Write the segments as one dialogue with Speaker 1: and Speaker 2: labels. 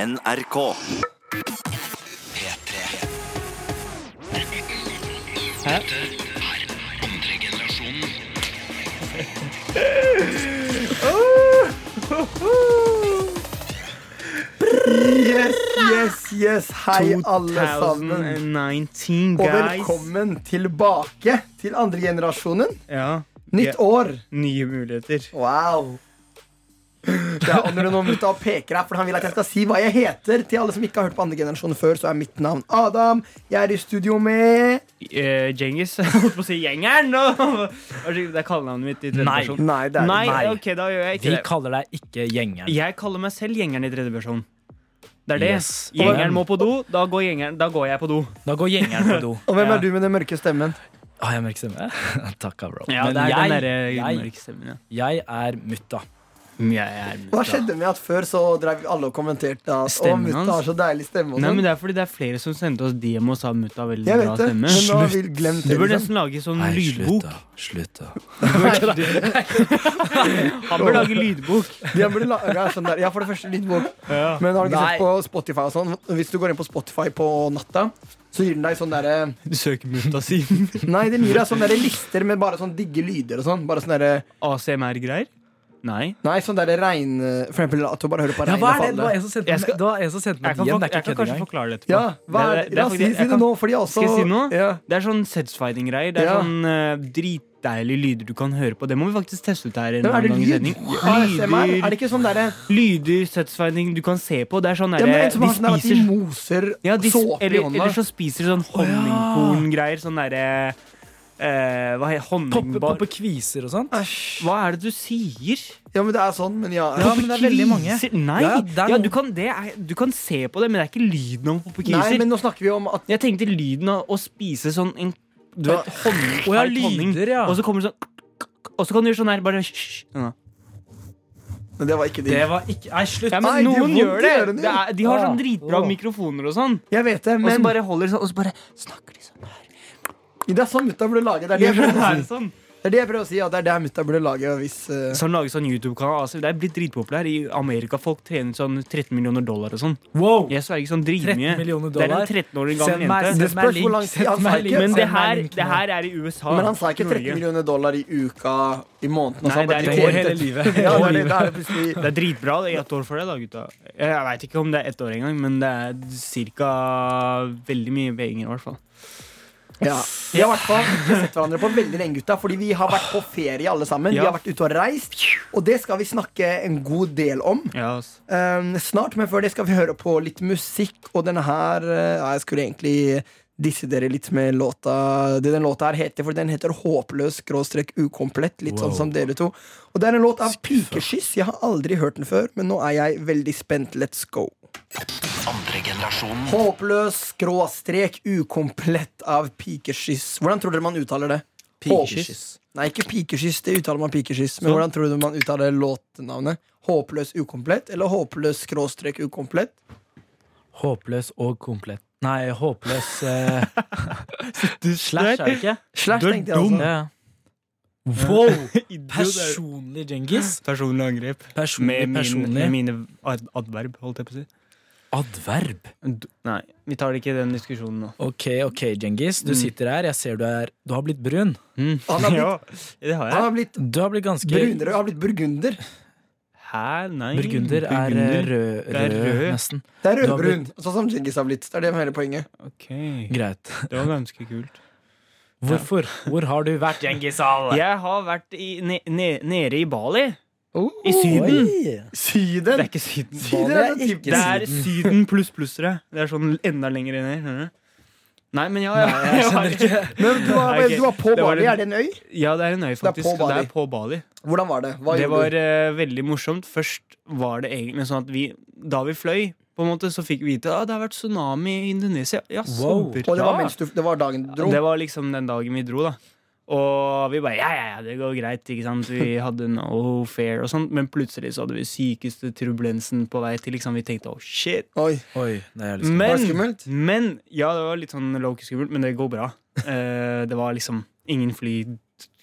Speaker 1: NRK.
Speaker 2: Yes, yes, yes. Hei, alle sammen.
Speaker 3: 2019,
Speaker 2: Og
Speaker 3: guys.
Speaker 2: velkommen tilbake til andregenerasjonen.
Speaker 3: Ja.
Speaker 2: Nytt
Speaker 3: Ja,
Speaker 2: år.
Speaker 3: Nye muligheter.
Speaker 2: Wow. Det er Andre nå ute og peker her, for han vil at jeg skal si hva jeg heter. Til alle som ikke har hørt på andregenerasjonen før, så er mitt navn Adam. Jeg er i studio med
Speaker 3: Uh, Djengis. Jeg holdt på å si gjengeren. nå. Det er kallenavnet mitt i tredje
Speaker 4: Nei.
Speaker 3: person.
Speaker 2: Nei, det er
Speaker 3: Nei,
Speaker 4: Nei.
Speaker 3: ok, da gjør jeg
Speaker 4: Vi
Speaker 3: ikke det.
Speaker 4: kaller deg ikke gjengeren.
Speaker 3: Jeg kaller meg selv gjengeren i tredje person. Det er det.
Speaker 4: Yes.
Speaker 3: Gjengeren må på do, da går, gjengeren, da går jeg på do.
Speaker 4: Da går gjengeren på do.
Speaker 2: Og hvem
Speaker 3: Ja.
Speaker 2: er du med den mørke stemmen?
Speaker 4: Å, jeg merker stemme. Takk, bro.
Speaker 3: Ja,
Speaker 4: Men
Speaker 3: det er
Speaker 4: jeg,
Speaker 3: den derre
Speaker 4: jeg,
Speaker 3: mørkstemmen, ja.
Speaker 4: jeg er mutta.
Speaker 3: Mm, Jeg er
Speaker 2: Hva skjedde med at før så drev alle og kommenterte at å,
Speaker 3: Stemmen
Speaker 2: mutta
Speaker 3: hans.
Speaker 2: har så deilig stemme. Og
Speaker 3: Nei, men
Speaker 2: sånn.
Speaker 3: Det er fordi det er flere som sendte oss DM og sa mutta har veldig
Speaker 2: Jeg
Speaker 3: bra
Speaker 2: vet det,
Speaker 3: stemme.
Speaker 2: men nå har vi glemt
Speaker 3: Du
Speaker 2: det.
Speaker 3: burde
Speaker 2: Liksom.
Speaker 3: nesten lage sånn
Speaker 4: Nei, slutt,
Speaker 3: lydbok.
Speaker 4: da. Slutt, da.
Speaker 3: Han bør lage lydbok.
Speaker 2: Jeg burde laga sånn der. Ja, for det første, litt bok. Men har du ikke
Speaker 4: Nei.
Speaker 2: sett på Spotify og sånn? Hvis du går inn på Spotify på natta, så gir den deg sånn derre
Speaker 3: Du søker mutta siden.
Speaker 2: Nei, den gir deg sånne der lister med bare sånn digge lyder og sånn. Bare sånn derre
Speaker 3: ACMR-greier? Nei.
Speaker 2: Nei, sånn derre regn... For eksempel at du bare hører på
Speaker 4: Ja,
Speaker 2: regnet
Speaker 4: hva er det? Det
Speaker 2: falle.
Speaker 4: var en som sendte
Speaker 3: Jeg
Speaker 4: meg,
Speaker 3: skal-
Speaker 4: det var en som sendte
Speaker 3: Jeg
Speaker 4: meg
Speaker 3: kan,
Speaker 4: DM.
Speaker 3: fak-
Speaker 4: Det er
Speaker 3: jeg
Speaker 4: ikke
Speaker 3: kan
Speaker 4: kødd
Speaker 3: kanskje
Speaker 4: engang.
Speaker 3: forklare det etterpå.
Speaker 2: Ja,
Speaker 3: Det
Speaker 2: hva er det?
Speaker 3: er- det er
Speaker 2: La oss si,
Speaker 3: faktisk-
Speaker 2: si
Speaker 3: jeg
Speaker 2: det
Speaker 3: kan-
Speaker 2: nå, fordi jeg også
Speaker 3: Skal jeg si noe?
Speaker 2: Ja.
Speaker 3: Det er sånn setsfighting-greier. Det er
Speaker 2: Ja.
Speaker 3: sånn eh, dritdeilige lyder du kan høre på. Det må vi faktisk teste ut her. en
Speaker 2: Men er det
Speaker 3: annen gang i
Speaker 2: lyd?
Speaker 3: sending.
Speaker 2: ASMR? Er det
Speaker 3: Lyder,
Speaker 2: ikke sånn derre
Speaker 3: lyder setsfighting du kan se på. Det er sånn
Speaker 2: ja,
Speaker 3: derre
Speaker 2: men en som
Speaker 3: De
Speaker 2: har sånn der at de
Speaker 3: spiser
Speaker 2: moser
Speaker 3: ja, de, sp-
Speaker 2: såpe i
Speaker 3: eller,
Speaker 2: hånda?
Speaker 3: eller så spiser de sånn honningkorngreier. Sånn derre eh, Hva heter
Speaker 4: Poppe,
Speaker 3: honningbar
Speaker 4: poppe kviser og sånt.
Speaker 2: Æsj.
Speaker 3: Hva er det du sier?
Speaker 2: Ja, men det er sånn, men ja.
Speaker 4: Ja, men det er veldig mange.
Speaker 3: Kviser? Nei,
Speaker 4: Ja,
Speaker 3: ja,
Speaker 4: det er noen-
Speaker 3: du, kan, det er, du kan se på det, men det er ikke lyden av popekiser.
Speaker 2: Nei, men nå snakker vi om at
Speaker 3: Jeg tenkte lyden av å spise sånn en Du vet, honning,
Speaker 4: Å ja,
Speaker 3: feit honning.
Speaker 4: lyder, ja.
Speaker 3: Og så kommer det sånn Og så kan du gjøre sånn her, bare hysj. sånn da.
Speaker 2: Men det var ikke
Speaker 4: Det
Speaker 2: digg.
Speaker 4: var ikke Nei, slutt.
Speaker 3: Ja, men
Speaker 2: Nei, det gjør
Speaker 3: noen
Speaker 2: vondt
Speaker 3: gjør
Speaker 2: i
Speaker 3: det!
Speaker 2: ørene.
Speaker 3: det er, de har sånn
Speaker 4: Åh,
Speaker 3: dritbra
Speaker 4: åh.
Speaker 3: mikrofoner og sånn.
Speaker 2: Jeg vet det,
Speaker 3: Og så
Speaker 2: men
Speaker 3: bare holder de sånn, og så bare snakker de sånn.
Speaker 2: det er sånn mutta burde lage. Det er det jeg prøver å
Speaker 3: her.
Speaker 2: si.
Speaker 3: Sånn,
Speaker 2: Det er det jeg prøver å si, at det er det mutta burde lage hvis eh,
Speaker 3: sånn lager sånn YouTube-kanal. Altså, det er blitt dritpopulær i Amerika. Folk trener sånn 13 millioner dollar og sånn.
Speaker 4: Wow!
Speaker 3: Jeg sverger sånn
Speaker 4: 13
Speaker 3: dritmye.
Speaker 4: millioner
Speaker 3: Det er
Speaker 4: dollar.
Speaker 3: en 13 år
Speaker 4: Send
Speaker 3: gammel
Speaker 4: meg,
Speaker 3: jente.
Speaker 4: send meg
Speaker 2: spørs hvor
Speaker 4: link.
Speaker 2: lang tid
Speaker 4: Send
Speaker 2: han
Speaker 4: meg
Speaker 2: tar.
Speaker 4: link.
Speaker 3: Men det
Speaker 4: Send meg
Speaker 3: her,
Speaker 4: link
Speaker 3: det
Speaker 4: nå.
Speaker 3: her er i USA.
Speaker 2: Men han sa ikke
Speaker 3: Ah, Norge.
Speaker 2: 13 millioner dollar i uka i måneden. og så
Speaker 3: Nei,
Speaker 2: han bare
Speaker 3: det er-
Speaker 2: tjente-
Speaker 4: Det går hele livet.
Speaker 2: Ja, det er det,
Speaker 4: Hele
Speaker 2: det
Speaker 4: livet.
Speaker 2: er det plutselig.
Speaker 3: Det er dritbra. Det er ett år for det, da, gutta. Jeg veit ikke om det er ett år engang, men det er ca. veldig mye penger, i hvert fall.
Speaker 2: Ja. Vi har i hvert fall ikke sett hverandre på veldig lenge, gutta. Fordi vi har vært på ferie alle sammen. Vi
Speaker 3: Ja.
Speaker 2: har vært ute og reist, og det skal vi snakke en god del om.
Speaker 3: Ja, altså. ass.
Speaker 2: Um, snart, men før det skal vi høre på litt musikk, og denne her eh, Jeg skulle egentlig disse dere litt med låta Det den låta her heter, for den heter Håpløs skråstrek ukomplett, litt sånn som dere to. Og det er en låt av Pikeskyss. Jeg har aldri hørt den før, men nå er jeg veldig spent. Let's go. Håpløs skråstrek ukomplett av pikeskyss. Hvordan tror dere man uttaler det?
Speaker 4: Pikeskyss.
Speaker 2: Håp- Nei, ikke pikeskyss. Det uttaler man pikeskyss. Men hvordan tror du man uttaler låtnavnet? Håpløs ukomplett eller håpløs skråstrek ukomplett?
Speaker 4: Håpløs og komplett. Nei, håpløs eh, Slash, er det ikke?
Speaker 2: Slash,
Speaker 3: Du er
Speaker 2: tenkte jeg altså.
Speaker 4: Ja. Wow! Personlig Djengis.
Speaker 3: Personlig angrep.
Speaker 4: Personlig,
Speaker 3: Med mine, med
Speaker 4: personlig.
Speaker 3: mine ad- adverb, holdt jeg på å si.
Speaker 4: Adverb.
Speaker 3: D- Nei, vi tar ikke den diskusjonen nå.
Speaker 4: Ok, ok, Djengis. Du
Speaker 3: Mm.
Speaker 4: sitter her. Jeg ser du er Du har blitt brun.
Speaker 2: Han har blitt-
Speaker 3: ja, det har
Speaker 2: Han
Speaker 3: jeg.
Speaker 2: har blitt
Speaker 4: Du har blitt ganske
Speaker 2: brunere og har blitt burgunder.
Speaker 3: Hæ? Nei.
Speaker 4: Burgunder er eh,
Speaker 3: Burgunder.
Speaker 4: rød,
Speaker 3: Det er
Speaker 4: rød,
Speaker 3: rød.
Speaker 4: nesten.
Speaker 2: Det er
Speaker 4: Du har
Speaker 2: rødbrun, sånn som Djengis har blitt. Det er det hele poenget.
Speaker 3: Ok,
Speaker 4: Greit.
Speaker 3: Det var ganske kult.
Speaker 4: Hvorfor? Hvor har du vært, Djengis Al?
Speaker 3: Jeg har vært i, ne, ne, nede i Bali. I
Speaker 4: Oi.
Speaker 3: Syden. Det
Speaker 2: Syden!
Speaker 3: er ikke Syden.
Speaker 2: Syden er sånn
Speaker 4: Det er
Speaker 2: den typen-
Speaker 4: ikke
Speaker 3: Det er Syden pluss plussere. Det er sånn enda lenger ned. skjønner du? Nei, men ja, ja.
Speaker 4: Jeg skjønner ikke.
Speaker 2: Men du var,
Speaker 3: Ok,
Speaker 2: du var på
Speaker 3: det var
Speaker 2: Bali.
Speaker 3: en-
Speaker 2: Er det en øy?
Speaker 3: Ja, det er en øy, faktisk.
Speaker 2: på Bali.
Speaker 3: Det er på Bali.
Speaker 2: Hvordan var det? Hva
Speaker 3: Det
Speaker 2: gjorde
Speaker 3: var
Speaker 2: du?
Speaker 3: eh, veldig morsomt. Først var det egentlig sånn at vi Da vi fløy, på en måte, så fikk vi vite at ah, det har vært tsunami i Indonesia. Ja,
Speaker 4: Wow.
Speaker 3: superbra.
Speaker 2: Og det var, mens du, det var dagen du dro?
Speaker 3: Det var liksom den dagen vi dro, da. Og vi bare ja, ja, ja, det går greit. ikke sant? Vi hadde no fair og sånt. Men plutselig så hadde vi sykeste turbulensen på vei til. liksom, Vi tenkte oh shit.
Speaker 2: Oi.
Speaker 4: Oi, det er jævlig skummelt.
Speaker 2: Var det
Speaker 3: Men,
Speaker 2: skummelt?
Speaker 3: men Ja, det var litt sånn lowkey skummelt, men det går bra. Eh, det var liksom ingen fly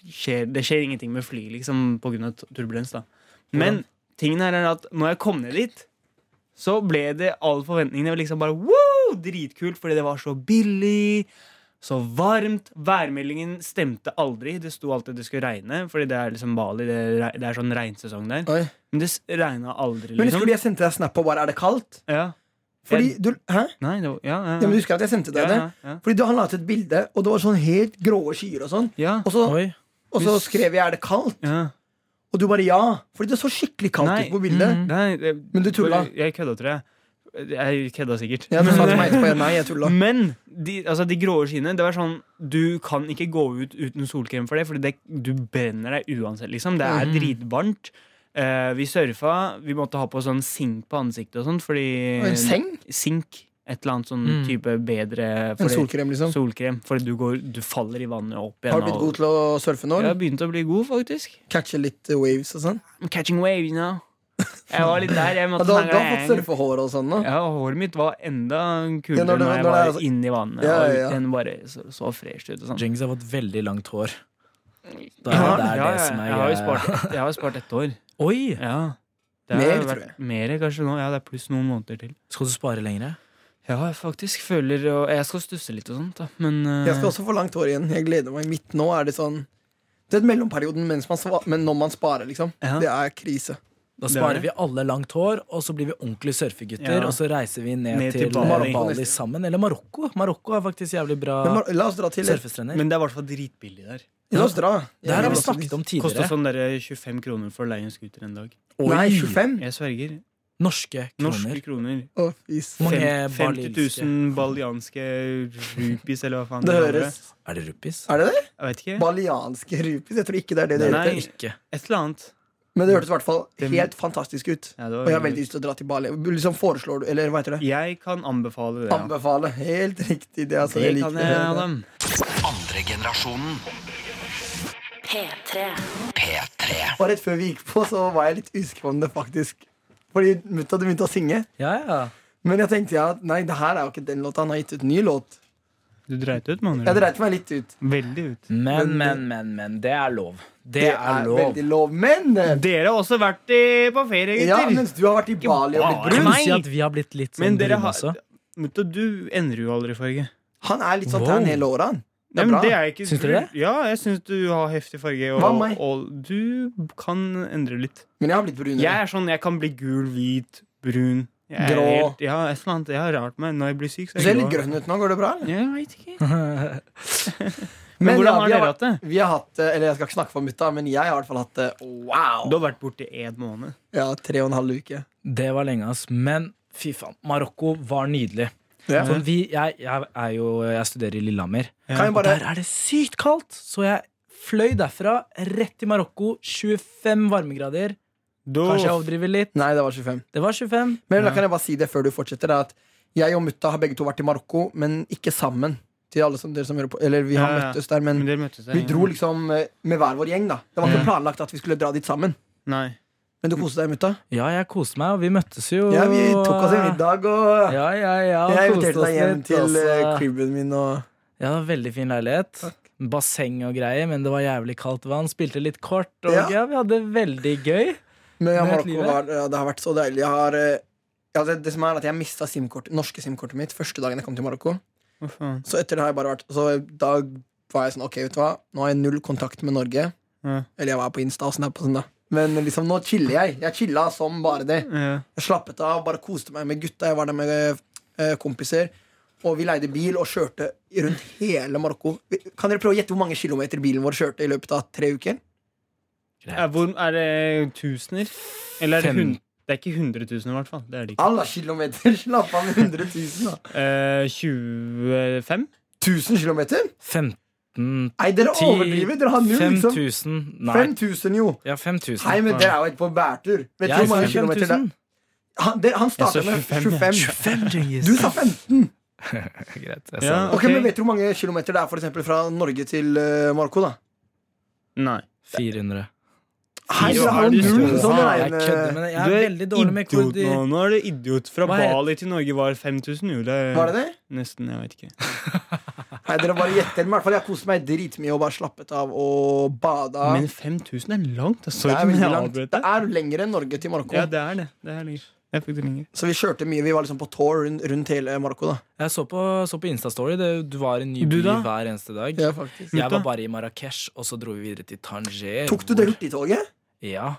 Speaker 3: skjer, Det skjer ingenting med fly liksom, pga. turbulens, da. Men tingen her er at når jeg kom ned dit, så ble det alle forventningene var liksom bare wow, dritkult, fordi det var så billig. Så varmt. Værmeldingen stemte aldri. Det sto alltid at det skulle regne. Fordi det er liksom Bali. Det er, re- det er sånn regnsesong der.
Speaker 2: Oi.
Speaker 3: Men det s- regna aldri,
Speaker 2: Men husker
Speaker 3: liksom.
Speaker 2: du jeg sendte deg snap på bare 'er det kaldt'?
Speaker 3: Ja.
Speaker 2: Fordi du, hæ?
Speaker 3: Nei, det var Ja, ja,
Speaker 2: Ja, men du husker at jeg sendte deg
Speaker 3: ja,
Speaker 2: det?
Speaker 3: ja, ja.
Speaker 2: Fordi du, Han la ut et bilde, og det var sånn helt gråe skyer og sånn.
Speaker 3: ja.
Speaker 2: Og så,
Speaker 4: Oi.
Speaker 2: og så skrev jeg 'er det kaldt'?
Speaker 3: ja.
Speaker 2: Og du bare ja. Fordi det så skikkelig kaldt
Speaker 3: Nei. Mm.
Speaker 2: ut på bildet.
Speaker 4: Mhm.
Speaker 3: Nei, det,
Speaker 2: Men du tulla.
Speaker 3: Jeg kødda, tror jeg. Jeg kødda sikkert.
Speaker 2: Ja, du sa til meg etterpå ja, nei, jeg tulla.
Speaker 3: Men de, altså, de gråe skyene Det var sånn, Du kan ikke gå ut uten solkrem for det, Fordi det, du brenner deg uansett. Liksom. Det er
Speaker 4: Mm.
Speaker 3: dritvarmt. Eh, vi surfa. Vi måtte ha på sånn sink på ansiktet og sånn. Fordi
Speaker 2: Og En seng?
Speaker 3: Sink. Et eller annet sånn
Speaker 4: Mm.
Speaker 3: type bedre
Speaker 2: En
Speaker 3: fordi-
Speaker 2: solkrem, liksom.
Speaker 3: solkrem. Fordi du, går, du faller i vannet og opp igjen.
Speaker 2: Har du blitt god til å surfe nå?
Speaker 3: Jeg har
Speaker 2: eller?
Speaker 3: begynt å bli god, faktisk.
Speaker 2: Catche litt eh, waves og sånn?
Speaker 3: I'm catching waves now. Jeg var litt der. Jeg
Speaker 2: Ja,
Speaker 3: måtte
Speaker 2: du, har-
Speaker 3: snakke
Speaker 2: du har fått
Speaker 3: med-
Speaker 2: surfehår og sånn nå?
Speaker 3: Ja, håret mitt var enda kulere
Speaker 2: Ja,
Speaker 3: når,
Speaker 2: når det-
Speaker 3: jeg
Speaker 2: når det
Speaker 3: var
Speaker 2: er så-
Speaker 3: inni vannet.
Speaker 2: Ja,
Speaker 3: og
Speaker 2: ja, ja.
Speaker 3: Den bare så, så fresh ut. Og sånn.
Speaker 4: Jinx har fått veldig langt hår. Da er
Speaker 3: Ja,
Speaker 4: det er
Speaker 3: ja,
Speaker 4: det
Speaker 3: ja.
Speaker 4: som er
Speaker 3: Jeg har jo
Speaker 4: greia.
Speaker 3: spart, jeg har jo spart ett år.
Speaker 4: Oi!
Speaker 3: Ja.
Speaker 2: Mer,
Speaker 3: har
Speaker 2: tror
Speaker 3: vært Mer kanskje nå. Ja, det er pluss noen måneder til.
Speaker 4: Skal du spare lengre?
Speaker 3: Ja, jeg faktisk føler og Jeg skal stusse litt og sånt, da. Men eh,
Speaker 2: Jeg skal også få langt hår igjen. Jeg gleder meg. Mitt nå er det sånn Det er mellomperioden mens man sva- men når man sparer, liksom.
Speaker 3: Ja.
Speaker 2: Det er krise.
Speaker 4: Da
Speaker 3: Det er
Speaker 4: sparer
Speaker 3: det.
Speaker 4: vi alle langt hår, og så blir vi ordentlige surfegutter.
Speaker 3: Ja.
Speaker 4: Og så reiser vi ned,
Speaker 3: Ned til
Speaker 4: til, eh,
Speaker 3: Bali.
Speaker 4: Bali. sammen. Eller Marokko. Marokko har faktisk jævlig bra
Speaker 2: Men ma- la oss dra til
Speaker 4: surfestrender.
Speaker 3: Men det er i hvert fall dritbillig der.
Speaker 2: La oss dra.
Speaker 4: det her
Speaker 2: Jeg
Speaker 4: har vi
Speaker 2: vil også-
Speaker 4: snakket om
Speaker 3: Kosta
Speaker 4: tidligere.
Speaker 3: sånn der 25 kroner for å leie en scooter en dag.
Speaker 4: Oi.
Speaker 2: Nei, 25?
Speaker 3: Jeg sverger.
Speaker 4: Norske kroner.
Speaker 3: Norske kroner.
Speaker 2: Å, fy søren.
Speaker 4: Hvor mange
Speaker 3: Fem- 50
Speaker 4: balianske?
Speaker 3: 000 balianske rupees, eller hva faen
Speaker 2: Det
Speaker 3: er.
Speaker 2: høres
Speaker 4: Er det rupees?
Speaker 2: Er det det?
Speaker 3: Jeg vet ikke.
Speaker 2: Balianske rupees? Jeg tror ikke det er det det
Speaker 3: Nei.
Speaker 2: heter.
Speaker 4: Det er Ikke.
Speaker 3: Et eller annet.
Speaker 2: Men det hørtes i hvert fall
Speaker 3: Det-
Speaker 2: helt fantastisk ut.
Speaker 3: Ja, det var
Speaker 2: Og jeg har
Speaker 3: veldig-
Speaker 2: veldig lyst til å dra til Bali. Liksom foreslår du, eller hva heter det?
Speaker 3: Jeg kan anbefale det. ja.
Speaker 2: Anbefale. Helt riktig. Det, altså,
Speaker 3: Det
Speaker 2: jeg liker
Speaker 3: kan jeg,
Speaker 2: det.
Speaker 3: Adam.
Speaker 1: Andre generasjonen.
Speaker 5: P3.
Speaker 1: P3.
Speaker 2: Og rett før vi gikk på, så var jeg litt usikker på om det faktisk Fordi mutta hadde begynt å synge.
Speaker 4: Ja, ja.
Speaker 2: Men jeg tenkte ja, at nei, det her er jo ikke den låta. Han har gitt ut en ny låt.
Speaker 3: Du dreit ut, mann.
Speaker 2: Jeg dreit meg litt ut.
Speaker 3: Veldig ut.
Speaker 4: Men, men, men, men. Det er lov. Det er lov.
Speaker 2: veldig lov. Men eh,
Speaker 3: Dere har også vært i, på ferie,
Speaker 2: ja,
Speaker 3: gutter.
Speaker 2: mens du har vært i Bali og blitt
Speaker 3: bare.
Speaker 2: brun
Speaker 4: Kan du si
Speaker 3: Nei.
Speaker 4: at vi har blitt litt
Speaker 3: Men
Speaker 4: sånn
Speaker 3: dere
Speaker 4: brune
Speaker 3: har-
Speaker 4: også?
Speaker 3: Mutta, du endrer jo aldri farge.
Speaker 2: Han er litt sånn
Speaker 4: Wow.
Speaker 2: tan hele året, han. Det
Speaker 3: Nei,
Speaker 2: er
Speaker 3: men
Speaker 2: bra.
Speaker 3: det er ikke,
Speaker 4: Syns dere det?
Speaker 3: Ja, jeg syns du har heftig farge. Og,
Speaker 2: Hva med meg?
Speaker 3: og du kan endre litt.
Speaker 2: Men jeg har blitt brunere.
Speaker 3: Jeg er sånn, jeg kan bli gul, hvit, brun. Jeg er
Speaker 2: Grå.
Speaker 3: helt- Ja, et eller annet. Jeg har rart meg. Når jeg blir syk, så
Speaker 2: Du
Speaker 3: er
Speaker 2: ser
Speaker 3: jeg
Speaker 2: litt grønn ut nå. Går det bra? Eller?
Speaker 3: Ja, jeg vet ikke. Men,
Speaker 2: Men
Speaker 3: hvordan har
Speaker 2: ja, vi har
Speaker 3: dere hatt det?
Speaker 2: Vi har hatt eh, Eller jeg skal ikke snakke for mutta, men jeg har i hvert fall hatt det wow.
Speaker 3: Du har vært borte i en måned.
Speaker 2: Ja, tre og en halv uke.
Speaker 4: Det var lenge, ass. Men fy faen, Marokko var nydelig.
Speaker 2: Ja.
Speaker 4: Sånn, vi, jeg, jeg, er jo, jeg studerer i Lillehammer.
Speaker 2: Kan jeg
Speaker 4: Og
Speaker 2: bare
Speaker 4: der er det sykt kaldt! Så jeg fløy derfra rett til Marokko. 25 varmegrader.
Speaker 3: Du,
Speaker 4: Kanskje jeg overdriver litt.
Speaker 2: Nei, det var 25.
Speaker 4: Det var 25.
Speaker 2: Men da kan jeg bare si det før du fortsetter, er at jeg og mutta har begge to vært i Marokko, men ikke sammen. Til alle som, dere som hører på Eller vi har
Speaker 3: Ja, ja.
Speaker 2: møttes der, men
Speaker 3: men dere møttes der,
Speaker 2: vi
Speaker 3: ja.
Speaker 2: dro liksom eh, med hver vår gjeng, da. Det var ikke planlagt at vi skulle dra dit sammen.
Speaker 3: Nei.
Speaker 2: Men du koste deg, mutta?
Speaker 4: Ja, jeg koste meg, og vi møttes jo.
Speaker 2: Ja, vi tok oss en middag, og
Speaker 4: Ja, ja, ja. og
Speaker 2: jeg
Speaker 4: koste
Speaker 2: inviterte
Speaker 4: oss
Speaker 2: deg hjem
Speaker 4: litt,
Speaker 2: til
Speaker 4: altså.
Speaker 2: eh, cribben min og
Speaker 4: Ja, det var veldig fin leilighet. Basseng og greier, men det var jævlig kaldt vann. Spilte litt kort, og
Speaker 2: Ja.
Speaker 4: ja. vi hadde det veldig gøy.
Speaker 2: Men ja,
Speaker 4: Nøt
Speaker 2: Marokko
Speaker 4: livet.
Speaker 2: var, ja, det har vært så deilig. Jeg har eh, ja, det, det som er at jeg mista SIM-kortet, norske SIM-kortet mitt første dagen jeg kom til Marokko.
Speaker 3: Hva faen?
Speaker 2: Så etter det har jeg bare vært Så da var jeg sånn, ok, vet du hva Nå har jeg null kontakt med Norge
Speaker 3: Ja.
Speaker 2: Eller jeg var på Insta og Snap og sånn da Men liksom, nå chiller jeg Jeg chilla som bare det
Speaker 3: Ja.
Speaker 2: Jeg slappet av, bare koste meg med gutta Jeg var der med eh, kompiser Og vi leide bil og kjørte rundt hele Marokko Vi- Kan dere prøve å gjette hvor mange kilometer bilen vår kjørte i løpet av tre uker?
Speaker 3: Er, hvor, er det tusener? Eller er det,
Speaker 4: Fem.
Speaker 3: hun, det er ikke hundretusener, i hvert fall. Det er det ikke.
Speaker 2: Alle kilometer, slapp av med 100 000 da
Speaker 3: Eh, 25?
Speaker 2: 1000 kilometer?
Speaker 4: 15
Speaker 2: Nei, dere
Speaker 4: 10
Speaker 2: overdriver, dere har null liksom
Speaker 4: 5000 Nei.
Speaker 2: 5000 jo
Speaker 4: Ja, 5000.
Speaker 2: Nei, men dere er jo ikke på bærtur Vet du
Speaker 4: jeg
Speaker 2: hvor mange
Speaker 4: sa
Speaker 2: kilometer det er?
Speaker 4: 5000.
Speaker 2: Han, det, han starta
Speaker 3: Jeg sa
Speaker 2: med
Speaker 3: 25,
Speaker 2: 25. Du sa 15!
Speaker 4: Greit,
Speaker 3: Ja.
Speaker 4: jeg sa det.
Speaker 2: Ok, men Vet du hvor mange kilometer det er for eksempel, fra Norge til eh, Marokko? da?
Speaker 3: Nei.
Speaker 4: 400.
Speaker 2: Hei,
Speaker 3: Jo,
Speaker 2: dere har
Speaker 3: er du
Speaker 2: null
Speaker 3: stor?
Speaker 2: sånn
Speaker 4: Jeg
Speaker 2: regne...
Speaker 4: kødder med det. Jeg er, veldig dårlig med
Speaker 3: idiot nå.
Speaker 4: koordi-
Speaker 3: Nå er du idiot. Fra
Speaker 4: Hva het-
Speaker 3: Bali til Norge var 5000, jo. Det er
Speaker 2: Var det det?
Speaker 3: nesten. Jeg vet ikke.
Speaker 2: Nei, dere bare gjetter. Men i hvert fall, Jeg koste meg dritmye og bare slappet av og bada.
Speaker 3: Men 5000 er langt. altså.
Speaker 2: det
Speaker 3: Sorry,
Speaker 2: er
Speaker 3: men
Speaker 2: veldig
Speaker 3: jeg
Speaker 2: langt.
Speaker 3: avbrøt
Speaker 2: Det
Speaker 3: deg.
Speaker 2: er lenger enn Norge til Marokko.
Speaker 3: Ja, det er det. det er det. Jeg fikk det lenger.
Speaker 2: Så vi kjørte mye. Vi var liksom på tour rundt, rundt hele Marokko. da
Speaker 4: Jeg så på, så på Instastory. Det, du var i en ny
Speaker 3: Du
Speaker 4: by
Speaker 3: da?
Speaker 4: hver eneste dag.
Speaker 2: faktisk
Speaker 4: Jeg
Speaker 3: Mutta?
Speaker 4: var bare i Marrakech, og så dro vi videre til Tanger.
Speaker 2: Tok du
Speaker 4: hvor-
Speaker 2: det hurtigtoget?
Speaker 4: Ja.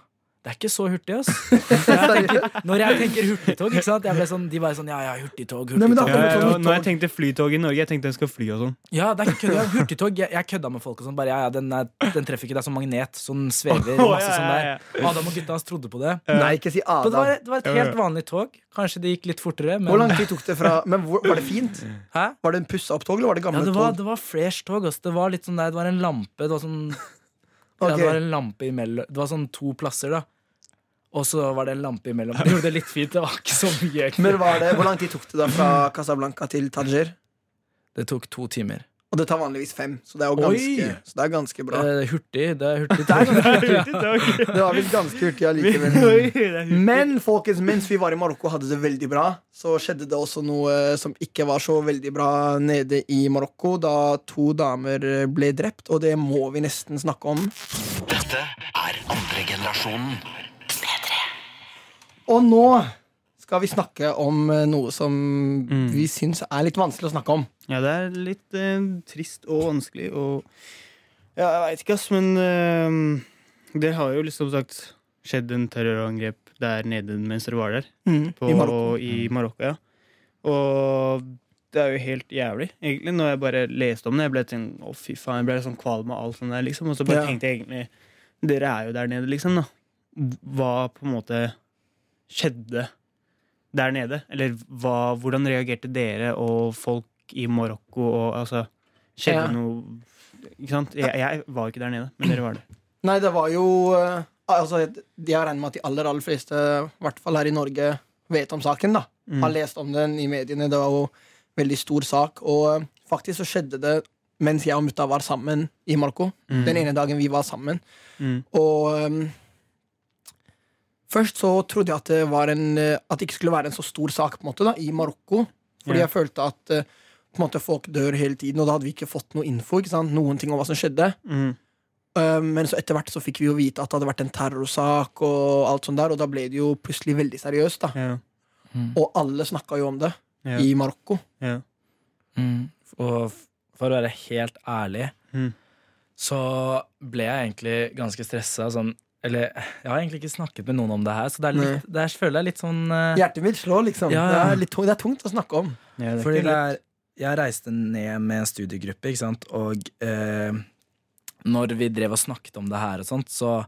Speaker 4: Det er ikke så hurtig, ass. Jeg tenker, når jeg tenker hurtigtog, ikke sant? Jeg ble sånn, de bare sånn ja, ja, hurtigtog,
Speaker 2: Nei, men da-
Speaker 4: hurtigtog.
Speaker 3: Ja,
Speaker 2: det var
Speaker 3: ja,
Speaker 2: sånn
Speaker 3: og når jeg tenkte flytog i Norge, jeg tenkte jeg skal fly og sånn.
Speaker 4: Ja, det er ikke kødd. ja, Hurtigtog. Jeg, jeg kødda med folk og sånn. Bare ja, ja, den, er, den treffer ikke. Det er sånn magnet. Sånn svever.
Speaker 3: Å,
Speaker 4: Masse
Speaker 3: ja,
Speaker 4: sånn
Speaker 3: ja,
Speaker 4: der. Adam og gutta hans trodde på det.
Speaker 2: Nei, ikke si
Speaker 4: Så det
Speaker 2: Adam.
Speaker 4: var, det var et
Speaker 3: Ja, ja.
Speaker 4: helt vanlig tog. Kanskje det gikk litt fortere, men
Speaker 2: Hvor lang tid tok det fra Men hvor, Var det fint?
Speaker 4: Hæ?
Speaker 2: Var det en pussa opp tog, eller var det
Speaker 4: Ja,
Speaker 2: gamle
Speaker 4: det
Speaker 2: tog?
Speaker 4: var, det var fresh tog. Ass. Det var litt sånn der, det var en lampe. Det var sånn Ja,
Speaker 2: Ok.
Speaker 4: det var en lampe imellom Det var sånn to plasser, da. Og så var det en lampe imellom. Det gjorde det litt fint. Det var ikke så mye. egentlig.
Speaker 2: Men var det, Hvor lang tid tok det da fra Casablanca til Tanger?
Speaker 4: Det tok to timer.
Speaker 2: Og det tar vanligvis fem, så det er jo
Speaker 4: Oi!
Speaker 2: ganske, så det er ganske bra.
Speaker 4: Eh, hurtig. Det er hurtig. Det er ganske hurtig.
Speaker 3: Hurtigtog.
Speaker 2: Det var visst ganske hurtig allikevel.
Speaker 3: Oi, det er hurtig.
Speaker 2: Men folkens, mens vi var i Marokko og hadde det veldig bra, så skjedde det også noe eh, som ikke var så veldig bra nede i Marokko, da to damer eh, ble drept, og det må vi nesten snakke om.
Speaker 1: Dette er andre generasjonen.
Speaker 2: Og nå skal vi snakke om eh, noe som vi syns er litt vanskelig å snakke om.
Speaker 3: Ja, det er litt eh, trist og vanskelig og Ja, jeg veit ikke, ass, men eh, det har jo liksom sagt skjedd en terrorangrep der nede mens dere var der. på,
Speaker 2: I Marokko.
Speaker 3: i Marokko. Ja. Og det er jo helt jævlig, egentlig. Når jeg bare leste om det, jeg ble sånn, å fy faen, jeg ble sånn kvalm av alt sånt der, liksom. Og så bare
Speaker 2: Ja.
Speaker 3: tenkte jeg egentlig Dere er jo der nede, liksom. da Hva på en måte skjedde der nede? Eller hva, hvordan reagerte dere og folk i Marokko og altså Skjedde
Speaker 2: Ja.
Speaker 3: noe Ikke sant? Jeg, jeg var ikke der nede, men dere var det.
Speaker 2: Nei, det var jo eh, Altså, jeg regner med at de aller, aller fleste, i hvert fall her i Norge, vet om saken, da.
Speaker 3: Mm.
Speaker 2: Har lest om den i mediene. Det var jo veldig stor sak. Og eh, faktisk så skjedde det mens jeg og mutta var sammen i Marokko.
Speaker 3: Mm.
Speaker 2: Den ene dagen vi var sammen.
Speaker 3: Mm.
Speaker 2: Og ehm, først så trodde jeg at det, var en, eh, at det ikke skulle være en så stor sak på en måte da, i Marokko. Fordi
Speaker 3: Ja.
Speaker 2: jeg følte at eh, på en måte, folk dør hele tiden, og da hadde vi ikke fått noe info. Ikke sant? Noen ting om hva som skjedde.
Speaker 3: Mm.
Speaker 2: Eh, men så etter hvert så fikk vi jo vite at det hadde vært en terrorsak, og alt sånt der, og da ble det jo plutselig veldig seriøst. da.
Speaker 3: Ja.
Speaker 2: Og alle snakka jo om det
Speaker 3: Ja.
Speaker 2: i Marokko.
Speaker 3: Ja.
Speaker 4: Mm. Og f- for å være helt ærlig,
Speaker 3: Mm.
Speaker 4: så ble jeg egentlig ganske stressa. Sånn, eller jeg har egentlig ikke snakket med noen om det her, så det er litt, det er, føler jeg litt sånn eh,
Speaker 2: Hjertet mitt slår, liksom.
Speaker 4: Ja, ja.
Speaker 2: Det, er litt tungt, det er tungt å snakke om.
Speaker 3: Ja, det er
Speaker 4: Fordi
Speaker 3: ikke
Speaker 4: det
Speaker 3: lett.
Speaker 4: er, jeg reiste ned med en studiegruppe, ikke sant? og eh, når vi drev og snakket om det her og sånt, så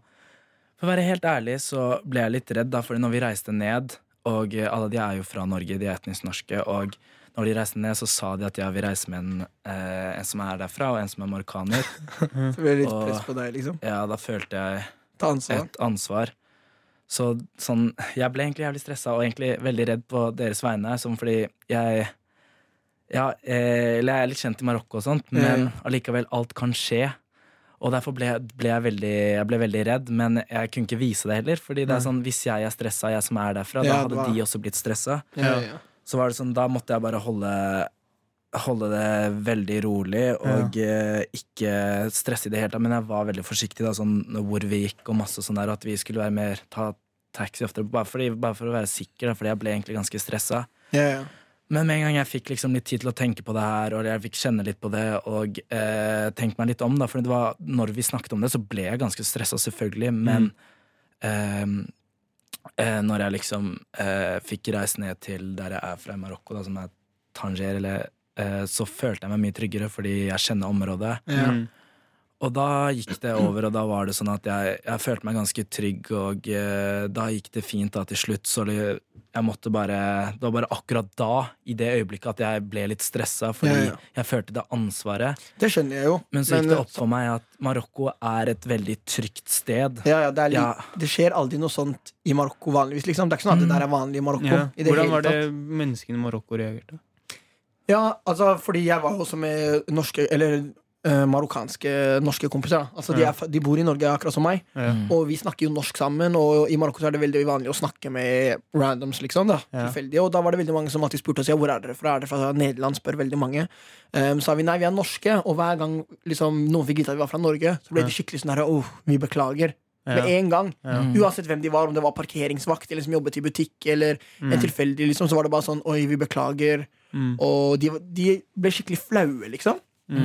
Speaker 4: for å være helt ærlig så ble jeg litt redd, da, fordi når vi reiste ned, og eh, alle de er jo fra Norge, de er etnisk norske, og når de reiste ned, så sa de at ja, vi reiser med en, eh, en som er derfra, og en som er marokkaner.
Speaker 2: Så blir det litt
Speaker 4: Åh.
Speaker 2: press på deg, liksom.
Speaker 4: Ja, da følte jeg
Speaker 2: Ta ansvar.
Speaker 4: et ansvar. Så sånn, jeg ble egentlig jævlig stressa og egentlig veldig redd på deres vegne. Sånn fordi jeg ja, eh, Eller jeg er litt kjent i Marokko og sånt,
Speaker 2: Ja, ja.
Speaker 4: men allikevel, alt kan skje. Og derfor ble, ble jeg, veldig, jeg ble veldig redd, men jeg kunne ikke vise det heller. Fordi det er sånn, hvis jeg er stressa, jeg som er derfra, da
Speaker 2: Ja, det
Speaker 4: hadde
Speaker 2: var-
Speaker 4: de også blitt stressa.
Speaker 2: Ja, ja.
Speaker 4: Så var det sånn, da måtte jeg bare holde Holde det veldig rolig og eh, ikke stresse i det hele tatt. Men jeg var veldig forsiktig da, sånn, hvor vi gikk og masse sånn der, og at vi skulle være mer ta taxi oftere. Bare, fordi, bare for å være sikker, da, fordi jeg ble egentlig ganske stressa.
Speaker 2: Ja, ja.
Speaker 4: Men med en gang jeg fikk liksom litt tid til å tenke på det her, og jeg fikk kjenne litt på det, og eh, tenkt meg litt om, da, for det var, når vi snakket om det, så ble jeg ganske stressa, selvfølgelig, men eh, eh, når jeg liksom eh, fikk reist ned til der jeg er fra i Marokko, da, som er Tanger, eller, eh, så følte jeg meg mye tryggere, fordi jeg kjenner området.
Speaker 2: Ja.
Speaker 3: Mm.
Speaker 4: Og da gikk det over, og da var det sånn at jeg, jeg følte meg ganske trygg, og eh, da gikk det fint da til slutt, så det- jeg måtte bare Det var bare akkurat da, i det øyeblikket, at jeg ble litt stressa, fordi
Speaker 2: Ja, eh, ja.
Speaker 4: jeg følte det ansvaret.
Speaker 2: Det skjønner jeg jo.
Speaker 4: Men så gikk det opp for meg at Marokko er et veldig trygt sted.
Speaker 2: Ja, ja, det, er li
Speaker 4: Ja.
Speaker 2: det skjer aldri noe sånt i Marokko vanligvis. Liksom. Det er ikke sånn at det der er vanlig i Marokko.
Speaker 3: Ja.
Speaker 2: I det
Speaker 3: Hvordan
Speaker 2: hele
Speaker 3: var det
Speaker 2: tatt.
Speaker 3: menneskene i Marokko reagerte?
Speaker 2: Ja, altså, fordi jeg var jo også med norske Eller eh, marokkanske norske kompiser. da. Altså, de,
Speaker 3: Ja.
Speaker 2: er, fa- de bor i Norge akkurat som meg,
Speaker 3: Ja.
Speaker 2: og vi snakker jo norsk sammen. Og i Marokko så er det veldig vanlig å snakke med randoms, liksom. Da,
Speaker 3: Ja.
Speaker 2: tilfeldige. Og da var det veldig mange som alltid spurte oss ja, hvor er dere fra. Er dere fra Nederland? spør veldig mange. Um, sa vi nei, vi er norske, og hver gang liksom, noen fikk vite at vi var fra Norge, så ble de skikkelig sånn her, åh, vi beklager. med en gang.
Speaker 3: Ja. Mm.
Speaker 2: Uansett hvem de var, om det var parkeringsvakt eller som jobbet i butikk eller en tilfeldig, liksom, så var det bare sånn Oi, vi beklager.
Speaker 3: Mm.
Speaker 2: Og de, de ble skikkelig flaue, liksom.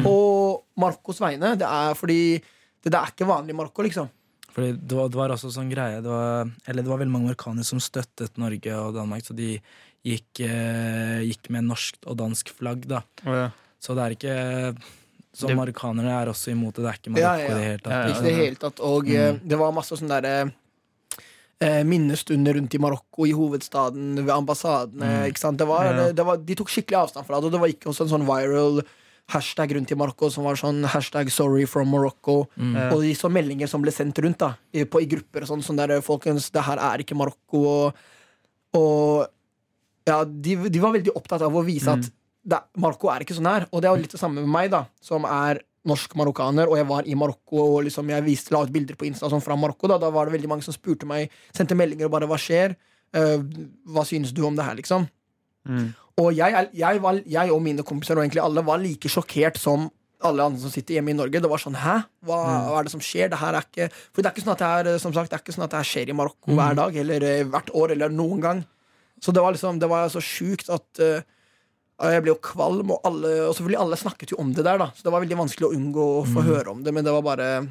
Speaker 2: På Marokkos vegne. Det er fordi det der er ikke vanlig i Marokko, liksom.
Speaker 4: Fordi det var, det var også sånn greie det var, Eller det var veldig mange marokkanere som støttet Norge og Danmark, så de gikk, eh, gikk med norsk og dansk flagg, da.
Speaker 3: Å, ja.
Speaker 4: Så det er ikke Så
Speaker 3: Det-
Speaker 4: marokkanere er også imot det. Det er ikke
Speaker 2: Ja,
Speaker 4: Marokko
Speaker 2: ja,
Speaker 4: i det
Speaker 2: ja.
Speaker 4: hele
Speaker 3: Ja,
Speaker 4: tatt.
Speaker 3: ja. Mm.
Speaker 2: Ikke det hele tatt. Og eh, det var masse sånne derre eh, Minnestunder rundt i Marokko, i hovedstaden, ved ambassadene. Ikke sant? Det var,
Speaker 3: Mm. Ja.
Speaker 2: det var, de tok skikkelig avstand fra det, og det var ikke også en sånn viral hashtag rundt i Marokko som var sånn hashtag 'sorry from
Speaker 3: Mm.
Speaker 2: Morocco'.
Speaker 3: Ja.
Speaker 2: Og de så meldinger som ble sendt rundt da i, på, i grupper og sånn. Sånn der 'Folkens, det her er ikke Marokko', og, og ja, de, de var veldig opptatt av å vise at det, Marokko er ikke sånn her. Og det er jo litt det samme med meg, da, som er norsk-marokkaner, og jeg var i Marokko og liksom jeg viste, la ut bilder på Insta sånn fra Marokko. Da, da var det veldig mange som spurte meg, sendte meldinger og bare 'hva skjer'? Eh, hva synes du om det her, liksom?
Speaker 3: Mm.
Speaker 2: Og jeg, er- jeg, var, jeg og mine kompiser og egentlig alle var like sjokkert som alle andre som sitter hjemme i Norge. Det var sånn, hæ? Hva, hva er det som skjer? Det her er ikke For det er ikke sånn at det her, som sagt, det er ikke sånn at det her skjer i Marokko hver dag eller eh, hvert år eller noen gang. Så det var liksom, det var så sjukt at eh, jeg ble jo kvalm, og, alle, og selvfølgelig alle snakket jo om det der, da. Så det var veldig vanskelig å unngå å få høre om det, men det var bare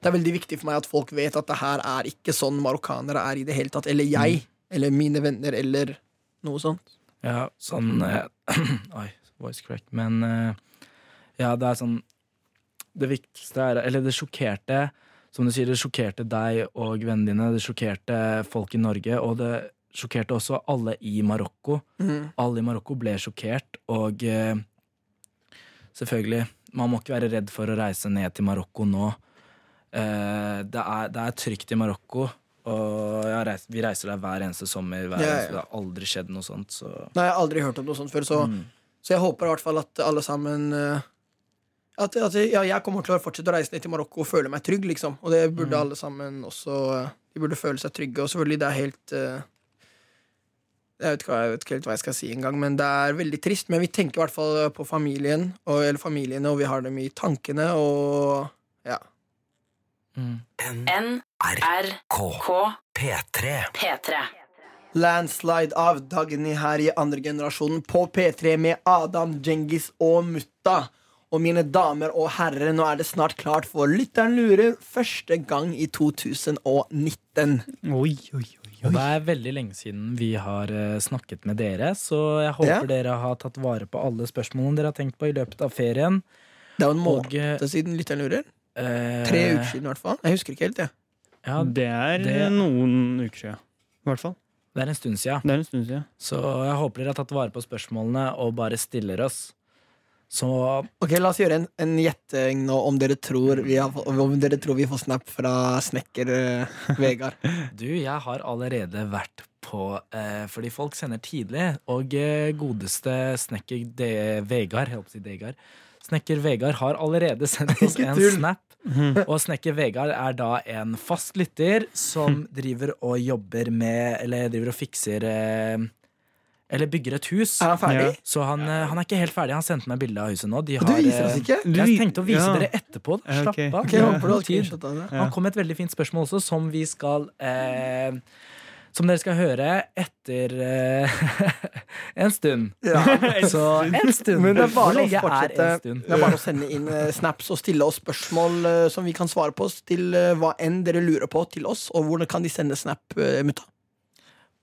Speaker 2: Det er veldig viktig for meg at folk vet at det her er ikke sånn marokkanere er i det hele tatt. Eller jeg, eller mine venner, eller noe sånt.
Speaker 4: Ja, sånn eh, Oi, voice crack. Men eh, ja, det er sånn Det viktigste er Eller det sjokkerte, som du sier, det sjokkerte deg og vennene dine. Det sjokkerte folk i Norge, og det sjokkerte også alle i Marokko.
Speaker 2: Mhm.
Speaker 4: Alle i Marokko ble sjokkert, og eh, selvfølgelig Man må ikke være redd for å reise ned til Marokko nå. Eh, det, er, det er trygt i Marokko. Og jeg har reist, vi reiser der hver eneste sommer. Hver
Speaker 2: Ja, ja.
Speaker 4: eneste, det har aldri skjedd noe sånt. Så.
Speaker 2: Nei, jeg har aldri hørt om noe sånt før, så, så jeg håper i hvert fall at alle sammen eh, At, at ja, jeg kommer til å fortsette å reise ned til Marokko og føle meg trygg, liksom. Og det burde alle sammen også eh, De burde føle seg trygge, og selvfølgelig, det er helt eh, jeg vet, ikke, hva- jeg vet ikke helt hva jeg skal si engang, men det er veldig trist. Men vi tenker i hvert fall på familien, og, eller familiene, og vi har dem i tankene, og ja.
Speaker 4: Mm.
Speaker 1: NRK P3.
Speaker 5: P3.
Speaker 2: Landslide av Dagny her i andre generasjonen på P3 med Adam, Djengis og Mutta. Og mine damer og herrer, nå er det snart klart for Lytteren lurer første gang i 2019.
Speaker 3: Oi, oi, oi,
Speaker 4: Og
Speaker 3: oi.
Speaker 4: det er veldig lenge siden vi har eh, snakket med dere, så jeg håper
Speaker 2: Ja.
Speaker 4: dere har tatt vare på alle spørsmålene dere har tenkt på i løpet av ferien.
Speaker 2: Det er jo en
Speaker 4: Og, eh,
Speaker 2: måned siden Lytteren lurer.
Speaker 4: eh,
Speaker 2: Tre uker siden, i hvert fall. Jeg husker ikke helt, jeg.
Speaker 4: Ja,
Speaker 3: Det er
Speaker 4: Det-
Speaker 3: noen uker siden. I hvert fall.
Speaker 4: det er en stund siden.
Speaker 3: Det er en stund siden.
Speaker 4: Så jeg håper dere har tatt vare på spørsmålene og bare stiller oss. Så
Speaker 2: Ok, La oss gjøre en, en gjetting nå om dere, tror vi har, fått- om dere tror vi får snap fra snekker eh, Vegard.
Speaker 4: du, jeg har allerede vært på eh, Fordi folk sender tidlig, og eh, godeste snekker de, Vegard, jeg holdt på å si Degar, snekker Vegard har allerede sendt oss
Speaker 2: Ikke
Speaker 4: en
Speaker 2: tull.
Speaker 4: snap. Og snekker Vegard er da en fast lytter som driver og jobber med Eller driver og fikser eh, Eller bygger et hus.
Speaker 2: Er han ferdig?
Speaker 3: Ja.
Speaker 4: Så han, eh, han er ikke helt ferdig. Han sendte meg bilde av huset nå. De
Speaker 2: Du
Speaker 4: har,
Speaker 2: viser
Speaker 4: eh,
Speaker 2: oss ikke?
Speaker 3: Du
Speaker 4: Jeg
Speaker 3: vi-
Speaker 4: tenkte å vise
Speaker 3: ja.
Speaker 4: dere etterpå. Da.
Speaker 3: Ja,
Speaker 4: Slapp
Speaker 3: ok.
Speaker 4: av.
Speaker 2: Ok,
Speaker 4: Vi
Speaker 2: jeg
Speaker 4: har
Speaker 2: håper du har
Speaker 4: god tid.
Speaker 2: screenshot av det.
Speaker 4: Han kom med et veldig fint spørsmål også, som vi skal eh, Som dere skal høre etter eh, en stund.
Speaker 2: Ja,
Speaker 4: Så en stund.
Speaker 2: Men det er
Speaker 4: Hvor
Speaker 2: bare å
Speaker 4: lenge er
Speaker 2: fortsette
Speaker 4: en stund?
Speaker 2: Det er bare å sende inn eh, snaps og stille oss spørsmål eh, som vi kan svare på, til eh, hva enn dere lurer på til oss. Og hvordan kan de sende snap, eh, mutta?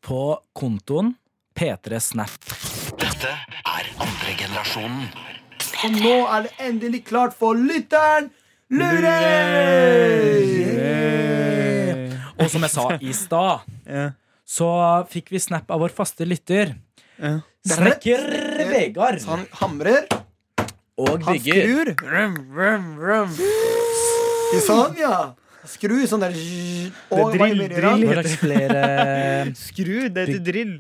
Speaker 4: På kontoen P3 Snap.
Speaker 1: Dette er andre generasjonen.
Speaker 2: Og nå er det endelig klart for lytteren lurer!
Speaker 3: Lurer!
Speaker 4: Og som jeg sa i stad,
Speaker 3: Ja.
Speaker 4: så fikk vi snap av vår faste lytter.
Speaker 3: Ja.
Speaker 4: Snekker Vegard.
Speaker 2: Han hamrer,
Speaker 4: Og
Speaker 2: han
Speaker 4: bygger.
Speaker 2: skrur. Sånn, ja. Skru sånn der Og hva
Speaker 3: drill,
Speaker 2: gjør dere?
Speaker 4: Hva
Speaker 3: drill.
Speaker 4: slags flere
Speaker 3: Skru, det heter drill.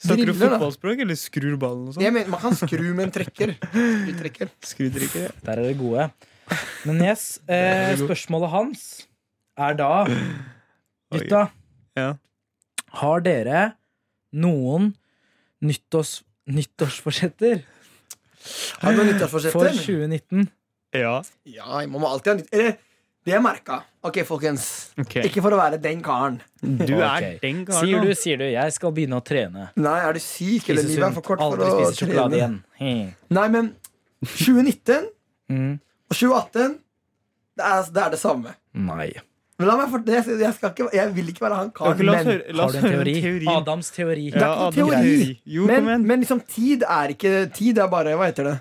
Speaker 3: Snakker du
Speaker 2: Driller, da.
Speaker 3: fotballspråk, eller skrur ballen og
Speaker 2: Jeg
Speaker 3: sånn?
Speaker 2: mener, man kan skru med en trekker. Skrutrekker.
Speaker 3: Skrudrikker, ja.
Speaker 4: Der er det gode. Men yes, eh, spørsmålet hans er da Gutta,
Speaker 3: ja.
Speaker 4: har dere noen nyttårs, nyttårsforsetter
Speaker 2: Har du noen
Speaker 4: for
Speaker 2: nyttårsforsetter?
Speaker 4: 2019?
Speaker 3: Ja.
Speaker 2: Ja, man må alltid ha nytt... Eller, Det jeg merka. Ok, folkens.
Speaker 3: Ok.
Speaker 2: Ikke for å være den karen.
Speaker 3: Du er
Speaker 4: Ok.
Speaker 3: den
Speaker 4: Sier du,
Speaker 3: karen.
Speaker 4: sier du, jeg skal begynne å trene.
Speaker 2: Nei, er du syk? Eller
Speaker 4: Spise
Speaker 2: livet er
Speaker 4: sunt.
Speaker 2: for kort for
Speaker 4: Aldri
Speaker 2: å
Speaker 4: spise sjokolade
Speaker 2: trene.
Speaker 4: igjen. He.
Speaker 2: Nei, men 2019
Speaker 4: Mm.
Speaker 2: og 2018, det er det, er det samme.
Speaker 4: Nei.
Speaker 2: Men la meg for, jeg, skal- jeg, skal ikke, jeg vil ikke være han
Speaker 3: Ok,
Speaker 2: karen,
Speaker 3: la oss
Speaker 2: men,
Speaker 3: høre, la
Speaker 4: Har
Speaker 3: oss
Speaker 4: du en
Speaker 3: høre
Speaker 4: teori?
Speaker 3: teorien.
Speaker 4: Adams teori.
Speaker 2: Det er
Speaker 3: Ja,
Speaker 2: ikke noe
Speaker 3: Adam,
Speaker 2: teori.
Speaker 3: greit. Jo, kom
Speaker 2: men,
Speaker 3: igjen.
Speaker 2: men liksom, tid er ikke Tid er bare Hva heter det?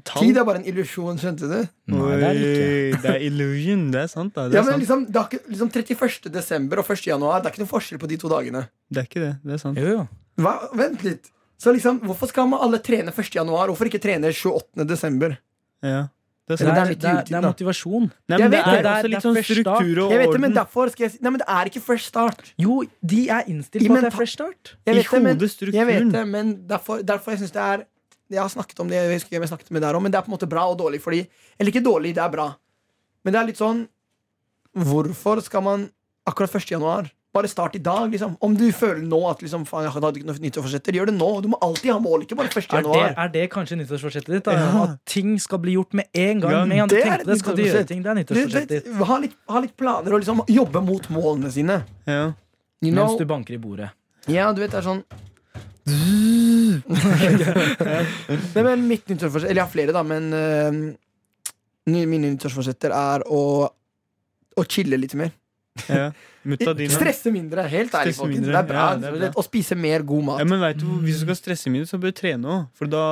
Speaker 2: Tid er bare en illusjon, skjønte du?
Speaker 4: Nei, det er det ikke.
Speaker 3: Oi, det er illusion. Det er sant, da. Det
Speaker 2: Ja,
Speaker 3: er,
Speaker 2: men
Speaker 3: sant.
Speaker 2: liksom, det er ikke, liksom 31. desember og 1. januar, det er ikke noen forskjell på de to dagene.
Speaker 3: det er ikke det. Det er sant.
Speaker 4: Jo, jo.
Speaker 2: Hva? Vent litt. Så liksom, Hvorfor skal man alle trene 1. januar? Hvorfor ikke trene 28. desember?
Speaker 3: Ja. Det er
Speaker 4: Det
Speaker 2: Eller
Speaker 3: sant.
Speaker 2: det er midt i
Speaker 4: er, det er,
Speaker 2: juletiden,
Speaker 4: det er
Speaker 2: da.
Speaker 4: motivasjon.
Speaker 3: Nei, men
Speaker 2: Jeg
Speaker 3: det
Speaker 2: vet det.
Speaker 3: er også
Speaker 4: Det er
Speaker 3: litt sånn
Speaker 4: først da.
Speaker 3: struktur og
Speaker 2: Jeg vet det, men
Speaker 3: orden.
Speaker 2: derfor skal jeg si Nei, men det er ikke fresh start.
Speaker 4: Jo, de er
Speaker 2: I
Speaker 4: innstilt på at det
Speaker 2: menta-
Speaker 4: er fresh start.
Speaker 2: Jeg
Speaker 3: I
Speaker 2: vet det, men-
Speaker 3: hodet strukturen.
Speaker 2: Jeg vet det, men derfor, derfor jeg synes det er Jeg har snakket om det, jeg husker jeg snakket med deg om, men det er på en måte bra og dårlig. Fordi, eller ikke dårlig, det er bra. Men det er litt sånn Hvorfor skal man akkurat 1. januar? Bare start i dag, liksom. Om du føler nå at liksom, faen, jeg hadde ikke noe nyttårsforsetter, gjør det nå. Du må alltid ha mål, ikke bare 1.
Speaker 4: Er det,
Speaker 2: januar.
Speaker 4: er det kanskje nyttårsforsettet ditt? Da?
Speaker 3: Ja.
Speaker 4: At ting skal bli gjort med en gang?
Speaker 3: Ja,
Speaker 4: med en gang du
Speaker 2: det er
Speaker 4: tenker på det, skal du gjøre
Speaker 2: nyttårsforsett.
Speaker 4: ting. Det er
Speaker 2: Du,
Speaker 4: nyttårsforsettet
Speaker 2: vet,
Speaker 4: ditt.
Speaker 2: ha, litt, ha litt planer og liksom jobbe mot målene sine.
Speaker 3: Ja.
Speaker 2: You know?
Speaker 4: Mens du banker i bordet.
Speaker 2: Ja, du vet, det er sånn Nei, men mitt nyttårsforsett Eller jeg har flere, da, men eh, ny- mine nyttårsforsetter er å å chille litt mer.
Speaker 3: ja. Mutta dine.
Speaker 2: Stresse mindre. Helt ærlig,
Speaker 3: Stresse
Speaker 2: folkens.
Speaker 3: mindre,
Speaker 2: Det er bra.
Speaker 3: ja, det er bra.
Speaker 2: Og spise mer god mat.
Speaker 3: Ja, men vet du, Hvis du skal stresse mye, så bør du trene òg. For da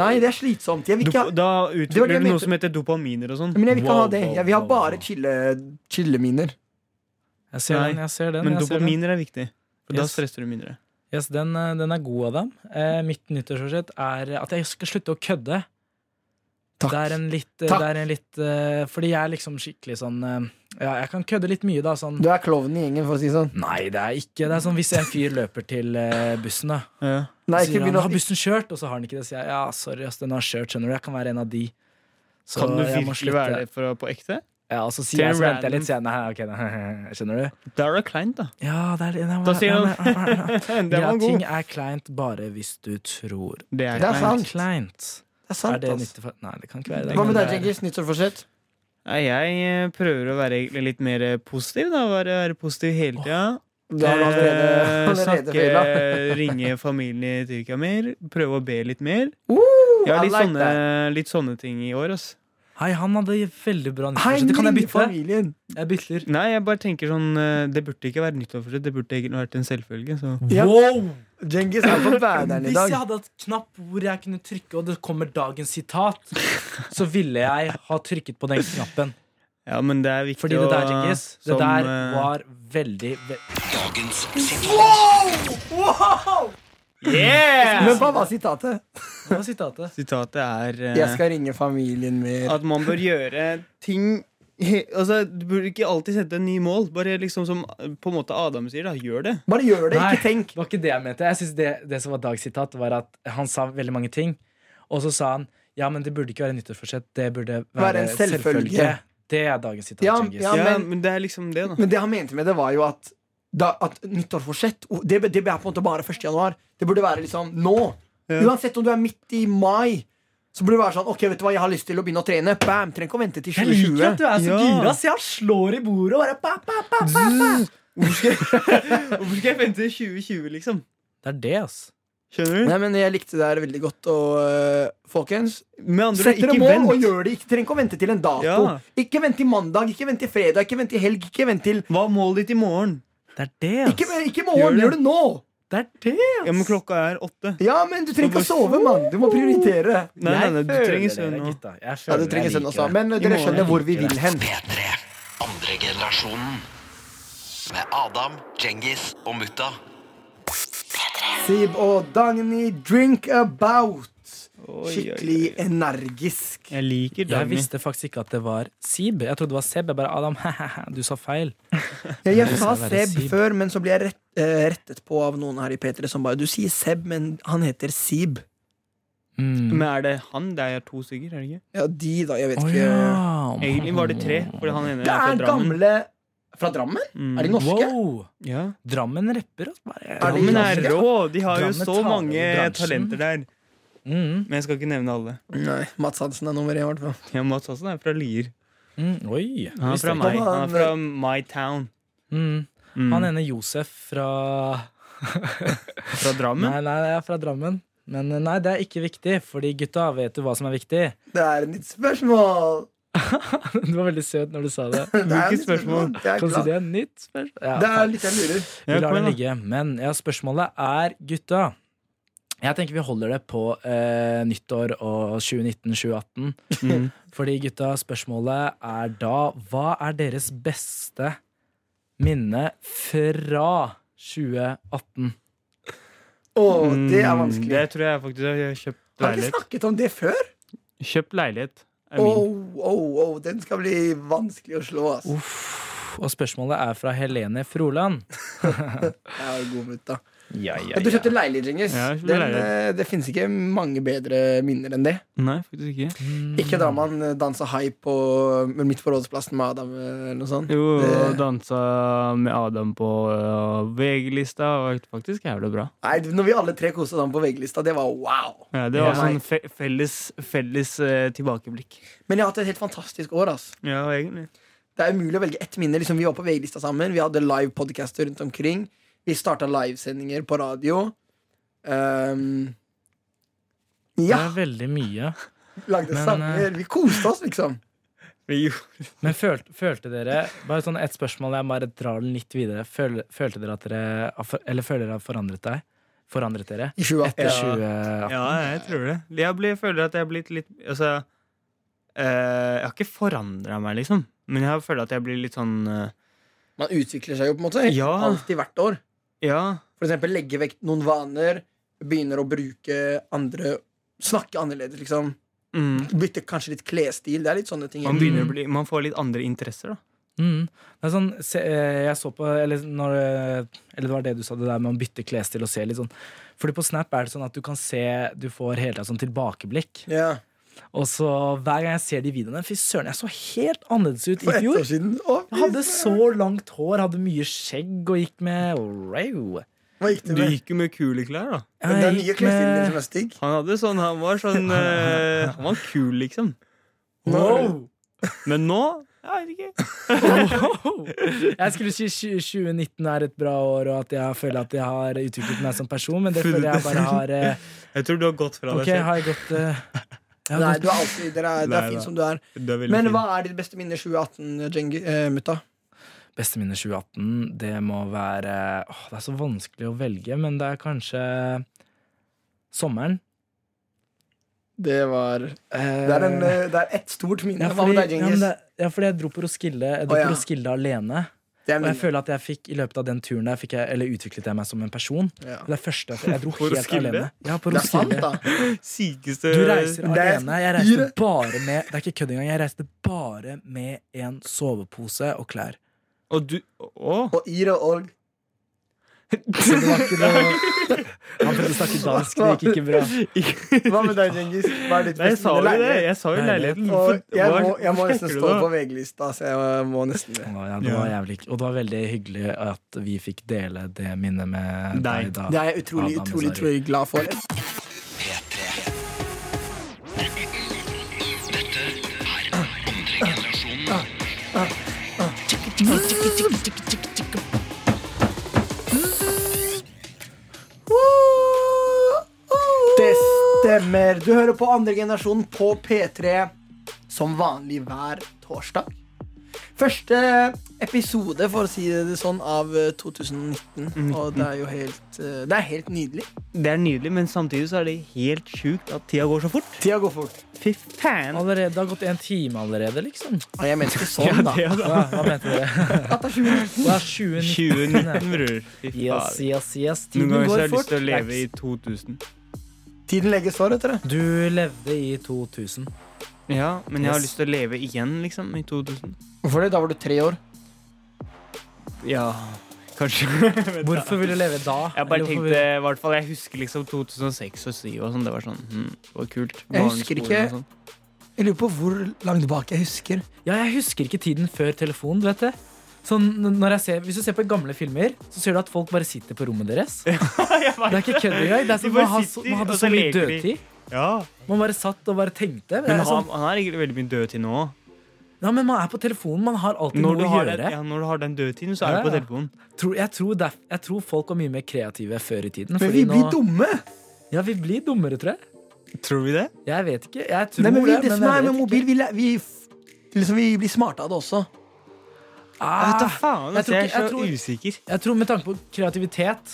Speaker 2: Nei, det er slitsomt. Jeg vil ikke
Speaker 3: Dop- Da
Speaker 2: ha, Det var det
Speaker 3: utvikler
Speaker 2: jeg
Speaker 3: du noe
Speaker 2: mente.
Speaker 3: som heter dopaminer og sånn.
Speaker 2: men jeg vil ikke ha
Speaker 4: Wow,
Speaker 2: det.
Speaker 4: wow,
Speaker 2: Jeg vil ha
Speaker 4: wow,
Speaker 2: bare
Speaker 4: wow.
Speaker 2: chille, chilleminer.
Speaker 4: Jeg ser
Speaker 3: Nei,
Speaker 4: den, jeg ser den.
Speaker 3: Men
Speaker 4: jeg ser den.
Speaker 3: dopaminer er viktig. For da
Speaker 4: Yes.
Speaker 3: stresser du mindre.
Speaker 4: Yes, den, eh, den er god av dem. Eh, mitt nyttårsforsett er at jeg skal slutte å kødde.
Speaker 2: Takk.
Speaker 4: Det er en litt, eh,
Speaker 2: Takk.
Speaker 4: Det er en litt eh, Fordi jeg er liksom skikkelig sånn eh, Ja, jeg kan kødde litt mye, da. Sånn
Speaker 2: Du er klovnen i gjengen, for å si det sånn.
Speaker 4: Nei, det er ikke Det er sånn hvis en fyr løper til eh, bussen, da.
Speaker 3: Ja.
Speaker 2: Nei, ikke
Speaker 4: Så sier han
Speaker 2: begynn å
Speaker 4: 'Har bussen kjørt?' Og så har han ikke det. Så sier jeg 'Ja, sorry, ass, den har kjørt, skjønner du. Jeg kan være en av de'. Så
Speaker 3: Kan du
Speaker 4: jeg må
Speaker 3: virkelig
Speaker 4: slutte.
Speaker 3: være det for, på ekte?
Speaker 4: Ja, og så
Speaker 3: Til
Speaker 4: sier jeg, så venter jeg
Speaker 3: random.
Speaker 4: litt, sier jeg nei, ok, nei, skjønner du?
Speaker 3: Da er du klein, da.
Speaker 4: Ja, det er litt
Speaker 3: Da sier han Der var
Speaker 4: Greit,
Speaker 3: han
Speaker 4: ting
Speaker 3: god.
Speaker 4: er kleint bare hvis du tror.
Speaker 3: Det er
Speaker 2: Det er
Speaker 3: kleint.
Speaker 2: sant.
Speaker 4: Kleint.
Speaker 2: Det er
Speaker 4: Er
Speaker 2: sant,
Speaker 4: det
Speaker 2: ass.
Speaker 4: nyttig for Nei, det kan ikke være det.
Speaker 2: Hva med
Speaker 4: Det
Speaker 2: deg,
Speaker 4: er-
Speaker 2: Cengiz? Nyttårsforsett?
Speaker 3: Nei, jeg eh, prøver å være egentlig litt mer eh, positiv, da. Være, være positiv hele tida.
Speaker 2: Du har allerede, allerede feila.
Speaker 3: snakke, eh, ringe familien i Tyrkia mer. Prøve å be litt mer. Jeg har
Speaker 2: I
Speaker 3: litt, sånn,
Speaker 2: like
Speaker 3: sånne, litt sånne ting i år, ass.
Speaker 4: Hei, han hadde veldig bra
Speaker 3: eh,
Speaker 2: Hei,
Speaker 4: nyttårsforsett. Kan jeg
Speaker 2: ring
Speaker 4: bytte?
Speaker 2: familien.
Speaker 4: Jeg bytter.
Speaker 3: Nei, jeg bare tenker sånn eh, Det burde ikke være nyttårsforsett. Det burde egentlig vært en selvfølge. Så.
Speaker 2: Ja.
Speaker 4: Wow!
Speaker 2: Djengis er på banneren i
Speaker 4: Hvis jeg
Speaker 2: dag.
Speaker 4: hadde et knapp hvor jeg kunne trykke, og det kommer dagens sitat, så ville jeg ha trykket på den knappen.
Speaker 3: Ja, men det er viktig
Speaker 4: Fordi det der,
Speaker 3: å-
Speaker 4: Cengiz, det
Speaker 3: som,
Speaker 4: der
Speaker 3: eh,
Speaker 4: var veldig, ve-
Speaker 1: Dagens sitat.
Speaker 2: Men
Speaker 3: Yeah!
Speaker 2: hva var sitatet?
Speaker 4: Hva var sitatet?
Speaker 3: Sitatet er eh,
Speaker 2: Jeg skal ringe familien mer.
Speaker 3: at man bør gjøre ting he, Altså, Du burde ikke alltid sette en ny mål. Bare liksom som eh, på en måte Adam sier, da. Gjør det.
Speaker 2: Bare gjør det,
Speaker 4: Nei.
Speaker 2: ikke tenk.
Speaker 4: Det var ikke det jeg mente. Jeg synes det, det som var Dags sitat, var at han sa veldig mange ting. Og så sa han ja, men det burde ikke være nyttårsforsett. Det burde være,
Speaker 2: Være en selvfølgelig.
Speaker 4: Det er dagens sitat.
Speaker 2: Ja,
Speaker 4: Cengiz.
Speaker 2: ja.
Speaker 3: Ja,
Speaker 2: men-
Speaker 3: men, det er liksom det, da.
Speaker 2: Men det han mente med det, var jo at, da, at nyttårsforsett o- det, det er på en måte bare 1. januar. Det burde være liksom nå.
Speaker 3: Ja.
Speaker 2: Uansett om du er midt i mai, så burde det være sånn Ok, vet du hva, jeg har lyst til å begynne å trene. Bam! Trenger ikke å vente til
Speaker 4: Jeg liker
Speaker 2: 2020.
Speaker 4: at du er så
Speaker 3: Ja.
Speaker 4: gira, så jeg slår i bordet og bare pa, pa, pa, pa, pa.
Speaker 3: Hvorfor skal jeg, hvorfor skal jeg vente til 2020, liksom?
Speaker 4: Det er det, ass.
Speaker 3: Skjønner du?
Speaker 2: Nei, men Jeg likte det her veldig godt. Og øh, folkens,
Speaker 3: Med andre
Speaker 2: sett
Speaker 3: ord,
Speaker 2: dere
Speaker 3: ikke
Speaker 2: mål og
Speaker 3: vent.
Speaker 2: gjør det. Ikke trenger ikke å vente til en dato.
Speaker 3: Ja.
Speaker 2: Ikke vent til mandag, ikke vent til fredag, ikke vent til helg. Ikke vent til
Speaker 3: Hva er målet ditt i morgen?
Speaker 4: Det er det, ass.
Speaker 2: Ikke, ikke i morgen,
Speaker 3: Gjør det.
Speaker 2: gjør det nå!
Speaker 4: Det er det, ass.
Speaker 3: Ja, men klokka er åtte.
Speaker 2: Ja, men du trenger ikke å sove, mann. Du må prioritere.
Speaker 3: Nei, nei, nei, du
Speaker 4: føler
Speaker 3: trenger
Speaker 4: dere,
Speaker 3: søvn nå.
Speaker 4: gutta. Jeg føler
Speaker 2: Ja, du trenger
Speaker 4: jeg
Speaker 2: sønn
Speaker 4: liker
Speaker 2: også.
Speaker 4: det.
Speaker 2: Men eh,
Speaker 3: I
Speaker 2: dere
Speaker 3: morgen.
Speaker 2: skjønner hvor vi vil hen.
Speaker 1: P3. Andre generasjonen. Med Adam, Djengis og Mutta.
Speaker 2: Sib og Dagny, drink about.
Speaker 3: Oi, oi,
Speaker 2: Skikkelig
Speaker 3: oi.
Speaker 2: energisk.
Speaker 3: Jeg liker
Speaker 4: Jeg
Speaker 3: Dagny.
Speaker 4: visste faktisk ikke at det var Sib. Jeg trodde det var Seb. Jeg bare Adam, du sa feil.
Speaker 2: Jeg, jeg sa
Speaker 4: skal være
Speaker 2: Seb
Speaker 4: Sib.
Speaker 2: før, men så ble jeg rett, eh, rettet på av noen her i P3 som bare Du sier Seb, men han heter Sib.
Speaker 4: Mm.
Speaker 3: Men er det han? Det er to stykker, er det ikke?
Speaker 2: Ja, de, da. Jeg vet
Speaker 4: Å
Speaker 2: ikke.
Speaker 4: ja.
Speaker 3: Egentlig var det tre, fordi han ene
Speaker 2: Det
Speaker 3: fra
Speaker 2: er
Speaker 3: Drammen.
Speaker 2: gamle Fra Drammen?
Speaker 3: Mm.
Speaker 2: Er de norske?
Speaker 4: Wow.
Speaker 3: Ja.
Speaker 4: Drammen rapper, ass. Bare,
Speaker 2: Er de
Speaker 3: Drammen er
Speaker 2: norske?
Speaker 3: rå! De har jo
Speaker 4: Drammen
Speaker 3: så
Speaker 4: tar over
Speaker 3: mange
Speaker 4: bransjen.
Speaker 3: talenter der.
Speaker 4: Mm.
Speaker 3: Men jeg skal ikke nevne alle.
Speaker 2: Nei. Mats Hansen er nummer én, i hvert fall.
Speaker 3: Ja, Mats Hansen er fra Lier.
Speaker 4: Mm, oi.
Speaker 3: Han er
Speaker 4: visste
Speaker 3: fra
Speaker 4: jeg ikke.
Speaker 3: meg. Han er fra my town.
Speaker 4: Mm.
Speaker 3: Mm.
Speaker 4: Han ene Josef fra
Speaker 3: fra Drammen.
Speaker 4: Nei, nei, jeg er fra Drammen. Men eh, nei, det er ikke viktig, fordi gutta, vet du hva som er viktig?
Speaker 2: Det er et nytt spørsmål!
Speaker 4: Du var veldig søt når du sa det.
Speaker 2: Det er et
Speaker 3: Hvilket
Speaker 2: nytt spørsmål. Det er,
Speaker 4: Kan du si
Speaker 2: glad.
Speaker 4: det er nytt spørsmål? Ja,
Speaker 2: det
Speaker 4: faen.
Speaker 2: er litt jeg lurer.
Speaker 3: Ja,
Speaker 4: Vi lar
Speaker 3: kom
Speaker 4: det
Speaker 3: igjen, da.
Speaker 4: ligge. Men ja, spørsmålet er, gutta Jeg tenker vi holder det på eh, nyttår og 2019-2018.
Speaker 3: Mm.
Speaker 4: Fordi, gutta, spørsmålet er da Hva er deres beste minne fra 2018?
Speaker 2: Å, det er
Speaker 3: Mm,
Speaker 2: vanskelig.
Speaker 3: Det tror jeg faktisk jeg har kjøpt
Speaker 2: Har vi ikke
Speaker 3: leilighet.
Speaker 2: snakket om det før?
Speaker 3: Kjøpt leilighet er min.
Speaker 2: Oh, oh, oh, den skal bli vanskelig å slå, ass.
Speaker 4: Uff. Og spørsmålet er fra Helene Froland.
Speaker 2: Jeg er god minutt, da.
Speaker 4: Ja, ja,
Speaker 2: Du kjøpte leilighet, Djengis.
Speaker 3: Ja, jeg kjøpte
Speaker 2: Den,
Speaker 3: leilighet.
Speaker 2: eh, det finnes ikke mange bedre minner enn det.
Speaker 3: Nei, faktisk ikke.
Speaker 2: Ikke da man eh, dansa high på eh, midt på rådsplassen med Adam eh, eller noe sånt.
Speaker 3: Jo,
Speaker 2: Det-
Speaker 3: dansa med Adam på øh, VG-lista. Var faktisk jævlig bra.
Speaker 2: Nei, når vi alle tre koste sammen på VG-lista, det var wow.
Speaker 3: Ja, det var
Speaker 2: Ja.
Speaker 3: sånn fe felles, felles øh, tilbakeblikk.
Speaker 2: Men jeg har hatt et helt fantastisk år, ass.
Speaker 3: Ja, egentlig.
Speaker 2: Det er umulig å velge ett minne. Liksom, vi var på VG-lista sammen. Vi hadde live podcaster rundt omkring. Vi starta livesendinger på radio. Ehm,
Speaker 4: Det
Speaker 2: ja,
Speaker 4: er veldig mye.
Speaker 2: lagde
Speaker 4: men, eh,
Speaker 2: sanger. Vi koste oss, liksom.
Speaker 4: Men følte, følte dere Bare sånn et spørsmål, jeg bare drar den litt videre. Føl, følte dere at dere har for- Eller føler dere har forandret deg? Forandret dere?
Speaker 2: I 2018.
Speaker 4: Etter 2018?
Speaker 3: Ja, jeg tror det. Jeg blir, føler at jeg har blitt litt Altså, øh, jeg har ikke forandra meg, liksom. Men jeg føler at jeg blir litt sånn øh,
Speaker 2: Man utvikler seg jo på en måte.
Speaker 3: Ja.
Speaker 2: Alltid hvert år.
Speaker 3: Ja.
Speaker 2: For eksempel legge vekk noen vaner. Begynner å bruke andre Snakke annerledes, liksom.
Speaker 3: Mm.
Speaker 2: Bytte kanskje litt klesstil. Det er litt sånne ting.
Speaker 3: Man, begynner å bli, man får litt andre interesser, da.
Speaker 4: Mm. Det er sånn, se, eh, jeg så på eller, når, eh, eller det var det du sa, det der med å bytte klesstil og se litt sånn. Fordi på Snap er det sånn at du kan se Du får hele tida sånn tilbakeblikk.
Speaker 2: Ja.
Speaker 4: Og så hver gang jeg ser de videoene Fy søren, jeg så helt annerledes ut
Speaker 2: For
Speaker 4: i
Speaker 2: ett år
Speaker 4: fjor.
Speaker 2: siden. Å,
Speaker 4: Jeg hadde så langt hår, hadde mye skjegg og gikk med Wow.
Speaker 2: Hva gikk det
Speaker 3: Du
Speaker 2: med?
Speaker 3: gik jo med kule klær, da.
Speaker 4: Jeg
Speaker 2: Det er nye
Speaker 4: gikk
Speaker 2: klesstilen
Speaker 4: med-
Speaker 2: din som er stygg.
Speaker 3: Han hadde sånn, han var sånn øh, Han var kul, liksom.
Speaker 4: Wow.
Speaker 3: Men nå Jeg vet ikke.
Speaker 4: Wow. Jeg skulle si 20- 2019 er et bra år, og at jeg føler at jeg har utviklet meg som person, men det føler jeg bare har eh,
Speaker 3: Jeg tror du har gått fra
Speaker 4: Ok,
Speaker 3: deg selv.
Speaker 4: har jeg gått eh, jeg har
Speaker 2: Nei,
Speaker 4: gått-
Speaker 2: du er alltid dere er, dere
Speaker 3: Nei,
Speaker 2: er
Speaker 3: nei.
Speaker 2: fin som du er.
Speaker 3: Du er veldig
Speaker 2: Men
Speaker 3: fin.
Speaker 2: hva er ditt beste minne 2018, Jengi, eh, mutta?
Speaker 4: Beste minne 2018, det må være åh, Det er så vanskelig å velge, men det er kanskje sommeren.
Speaker 2: Det var Det
Speaker 4: Eh,
Speaker 2: er, en, eh, det er ett stort minne.
Speaker 4: ja,
Speaker 2: Hva
Speaker 4: fordi,
Speaker 2: med deg,
Speaker 4: ja, men
Speaker 2: Djengis?
Speaker 4: det, ja, fordi jeg dro på Roskilde, jeg dro
Speaker 2: Å, ja.
Speaker 4: på Roskilde alene.
Speaker 2: Det er
Speaker 4: Og jeg
Speaker 2: minne.
Speaker 4: føler at jeg fikk i løpet av den turen der fikk jeg, Eller utviklet jeg meg som en person.
Speaker 2: Ja.
Speaker 4: Det er første jeg, jeg dro
Speaker 3: På
Speaker 4: helt
Speaker 3: Roskilde?
Speaker 4: alene. Ja, på
Speaker 2: Det er sant,
Speaker 4: Roskilde.
Speaker 2: da.
Speaker 3: Sykeste
Speaker 4: Du reiser
Speaker 2: Det er-
Speaker 4: alene. Jeg reiste bare med Det er ikke kødd engang. Jeg reiste bare med en sovepose og klær.
Speaker 3: Og du Å!
Speaker 2: Og Ira og
Speaker 4: Så det var ikke noe Han prøvde å snakke dansk, det gikk ikke bra.
Speaker 2: Hva med deg, Djengis? Hva er ditt
Speaker 3: Nei, jeg
Speaker 2: beste
Speaker 3: sa jo
Speaker 2: minne?
Speaker 3: det.
Speaker 2: Leilighet?
Speaker 3: Jeg sa jo
Speaker 4: Leilighet.
Speaker 3: leiligheten.
Speaker 2: Og
Speaker 3: Hvorfor-
Speaker 2: jeg må,
Speaker 3: hva-
Speaker 2: jeg må
Speaker 3: hvorfor
Speaker 2: nesten
Speaker 3: tenker du
Speaker 2: stå
Speaker 3: da?
Speaker 2: på VG-lista, så jeg må nesten det.
Speaker 4: Å, ja, det var
Speaker 3: Ja.
Speaker 4: jævlig Og det var veldig hyggelig at vi fikk dele det minnet med deg,
Speaker 3: Deg.
Speaker 4: da.
Speaker 2: Det er jeg utrolig,
Speaker 4: Adam,
Speaker 2: utrolig,
Speaker 4: sorry.
Speaker 2: utrolig glad for.
Speaker 1: P3. Dette er andre generasjonen.
Speaker 2: Det stemmer. Du hører på andre generasjon på P3 som vanlig hver torsdag. Første episode, for å si det sånn, av eh, 2019. Og det er jo helt eh, Det er helt nydelig.
Speaker 3: Det er nydelig, men samtidig så er det helt sjukt at tida går så fort.
Speaker 2: Tida går fort.
Speaker 3: Fy faen!
Speaker 4: Allerede, det har gått en time allerede, liksom.
Speaker 2: Og jeg mener ikke sånn, da.
Speaker 3: Ja, da.
Speaker 4: Hva, hva mente dere?
Speaker 2: At det er 2019.
Speaker 4: Det er 2019.
Speaker 3: 2019, bror. Fy
Speaker 4: Yes,
Speaker 3: faen.
Speaker 4: yes, yes.
Speaker 3: Noen
Speaker 4: Tiden
Speaker 3: ganger så har
Speaker 4: går
Speaker 3: jeg lyst
Speaker 4: fort.
Speaker 3: til å leve i 2000.
Speaker 2: Tiden legges for, vet dere.
Speaker 4: Du levde i 2000.
Speaker 3: Ja, men jeg har
Speaker 4: Yes.
Speaker 3: lyst til å leve igjen, liksom, i 2000.
Speaker 2: Hvorfor det? Da var du tre år.
Speaker 3: Ja, kanskje.
Speaker 4: Hvorfor vil du leve da?
Speaker 3: Jeg bare
Speaker 4: Eller hvorfor
Speaker 3: tenkte, i hvert fall, jeg husker liksom 2006 og 2007 og sånn. Det var sånn, hm, det var kult.
Speaker 2: Jeg husker
Speaker 3: Barneskolen
Speaker 2: ikke-
Speaker 3: og sånn.
Speaker 2: Jeg lurer på hvor langt bak jeg husker.
Speaker 4: vil- Ja, jeg husker ikke tiden før telefonen, vet du. Sånn, n- når jeg ser, hvis du ser på gamle filmer, så ser du at folk bare sitter på rommet deres. Det
Speaker 3: Jeg vet
Speaker 4: er ikke kødd engang. Det er
Speaker 3: De
Speaker 4: sånn,
Speaker 3: bare
Speaker 4: man, har så-
Speaker 3: sitter,
Speaker 4: man hadde
Speaker 3: og
Speaker 4: så
Speaker 3: så
Speaker 4: mye
Speaker 3: leker de.
Speaker 4: dødtid.
Speaker 3: Ja.
Speaker 4: Man bare satt og bare tenkte. Det er
Speaker 3: Men
Speaker 4: sånn-
Speaker 3: han, han er egentlig veldig mye død til nå.
Speaker 4: Ja, men man er på telefonen. Man har alltid
Speaker 3: Når du,
Speaker 4: noe å
Speaker 3: har
Speaker 4: gjøre.
Speaker 3: den, ja, når du har den døde tiden, så er
Speaker 4: Ja,
Speaker 3: du på
Speaker 4: ja.
Speaker 3: telefonen.
Speaker 4: Tror- jeg, tror derf, jeg tror folk var mye mer kreative før i tiden.
Speaker 2: Men
Speaker 4: fordi
Speaker 2: vi blir
Speaker 4: nå-
Speaker 2: dumme!
Speaker 4: Ja, vi blir dummere, tror jeg.
Speaker 3: Tror vi det?
Speaker 4: Jeg vet ikke. Jeg tror
Speaker 2: Nei, men vi,
Speaker 4: det,
Speaker 2: det som er
Speaker 4: jeg
Speaker 2: med
Speaker 4: vet ikke.
Speaker 2: mobil, vi, læ- vi, f- liksom, vi blir smarte av det også.
Speaker 3: Jeg vet da
Speaker 4: Ah,
Speaker 3: faen,
Speaker 4: jeg
Speaker 3: altså,
Speaker 4: tror
Speaker 3: jeg er
Speaker 4: ikke-
Speaker 3: så
Speaker 4: jeg tror-
Speaker 3: usikker.
Speaker 4: jeg tror Med tanke på kreativitet,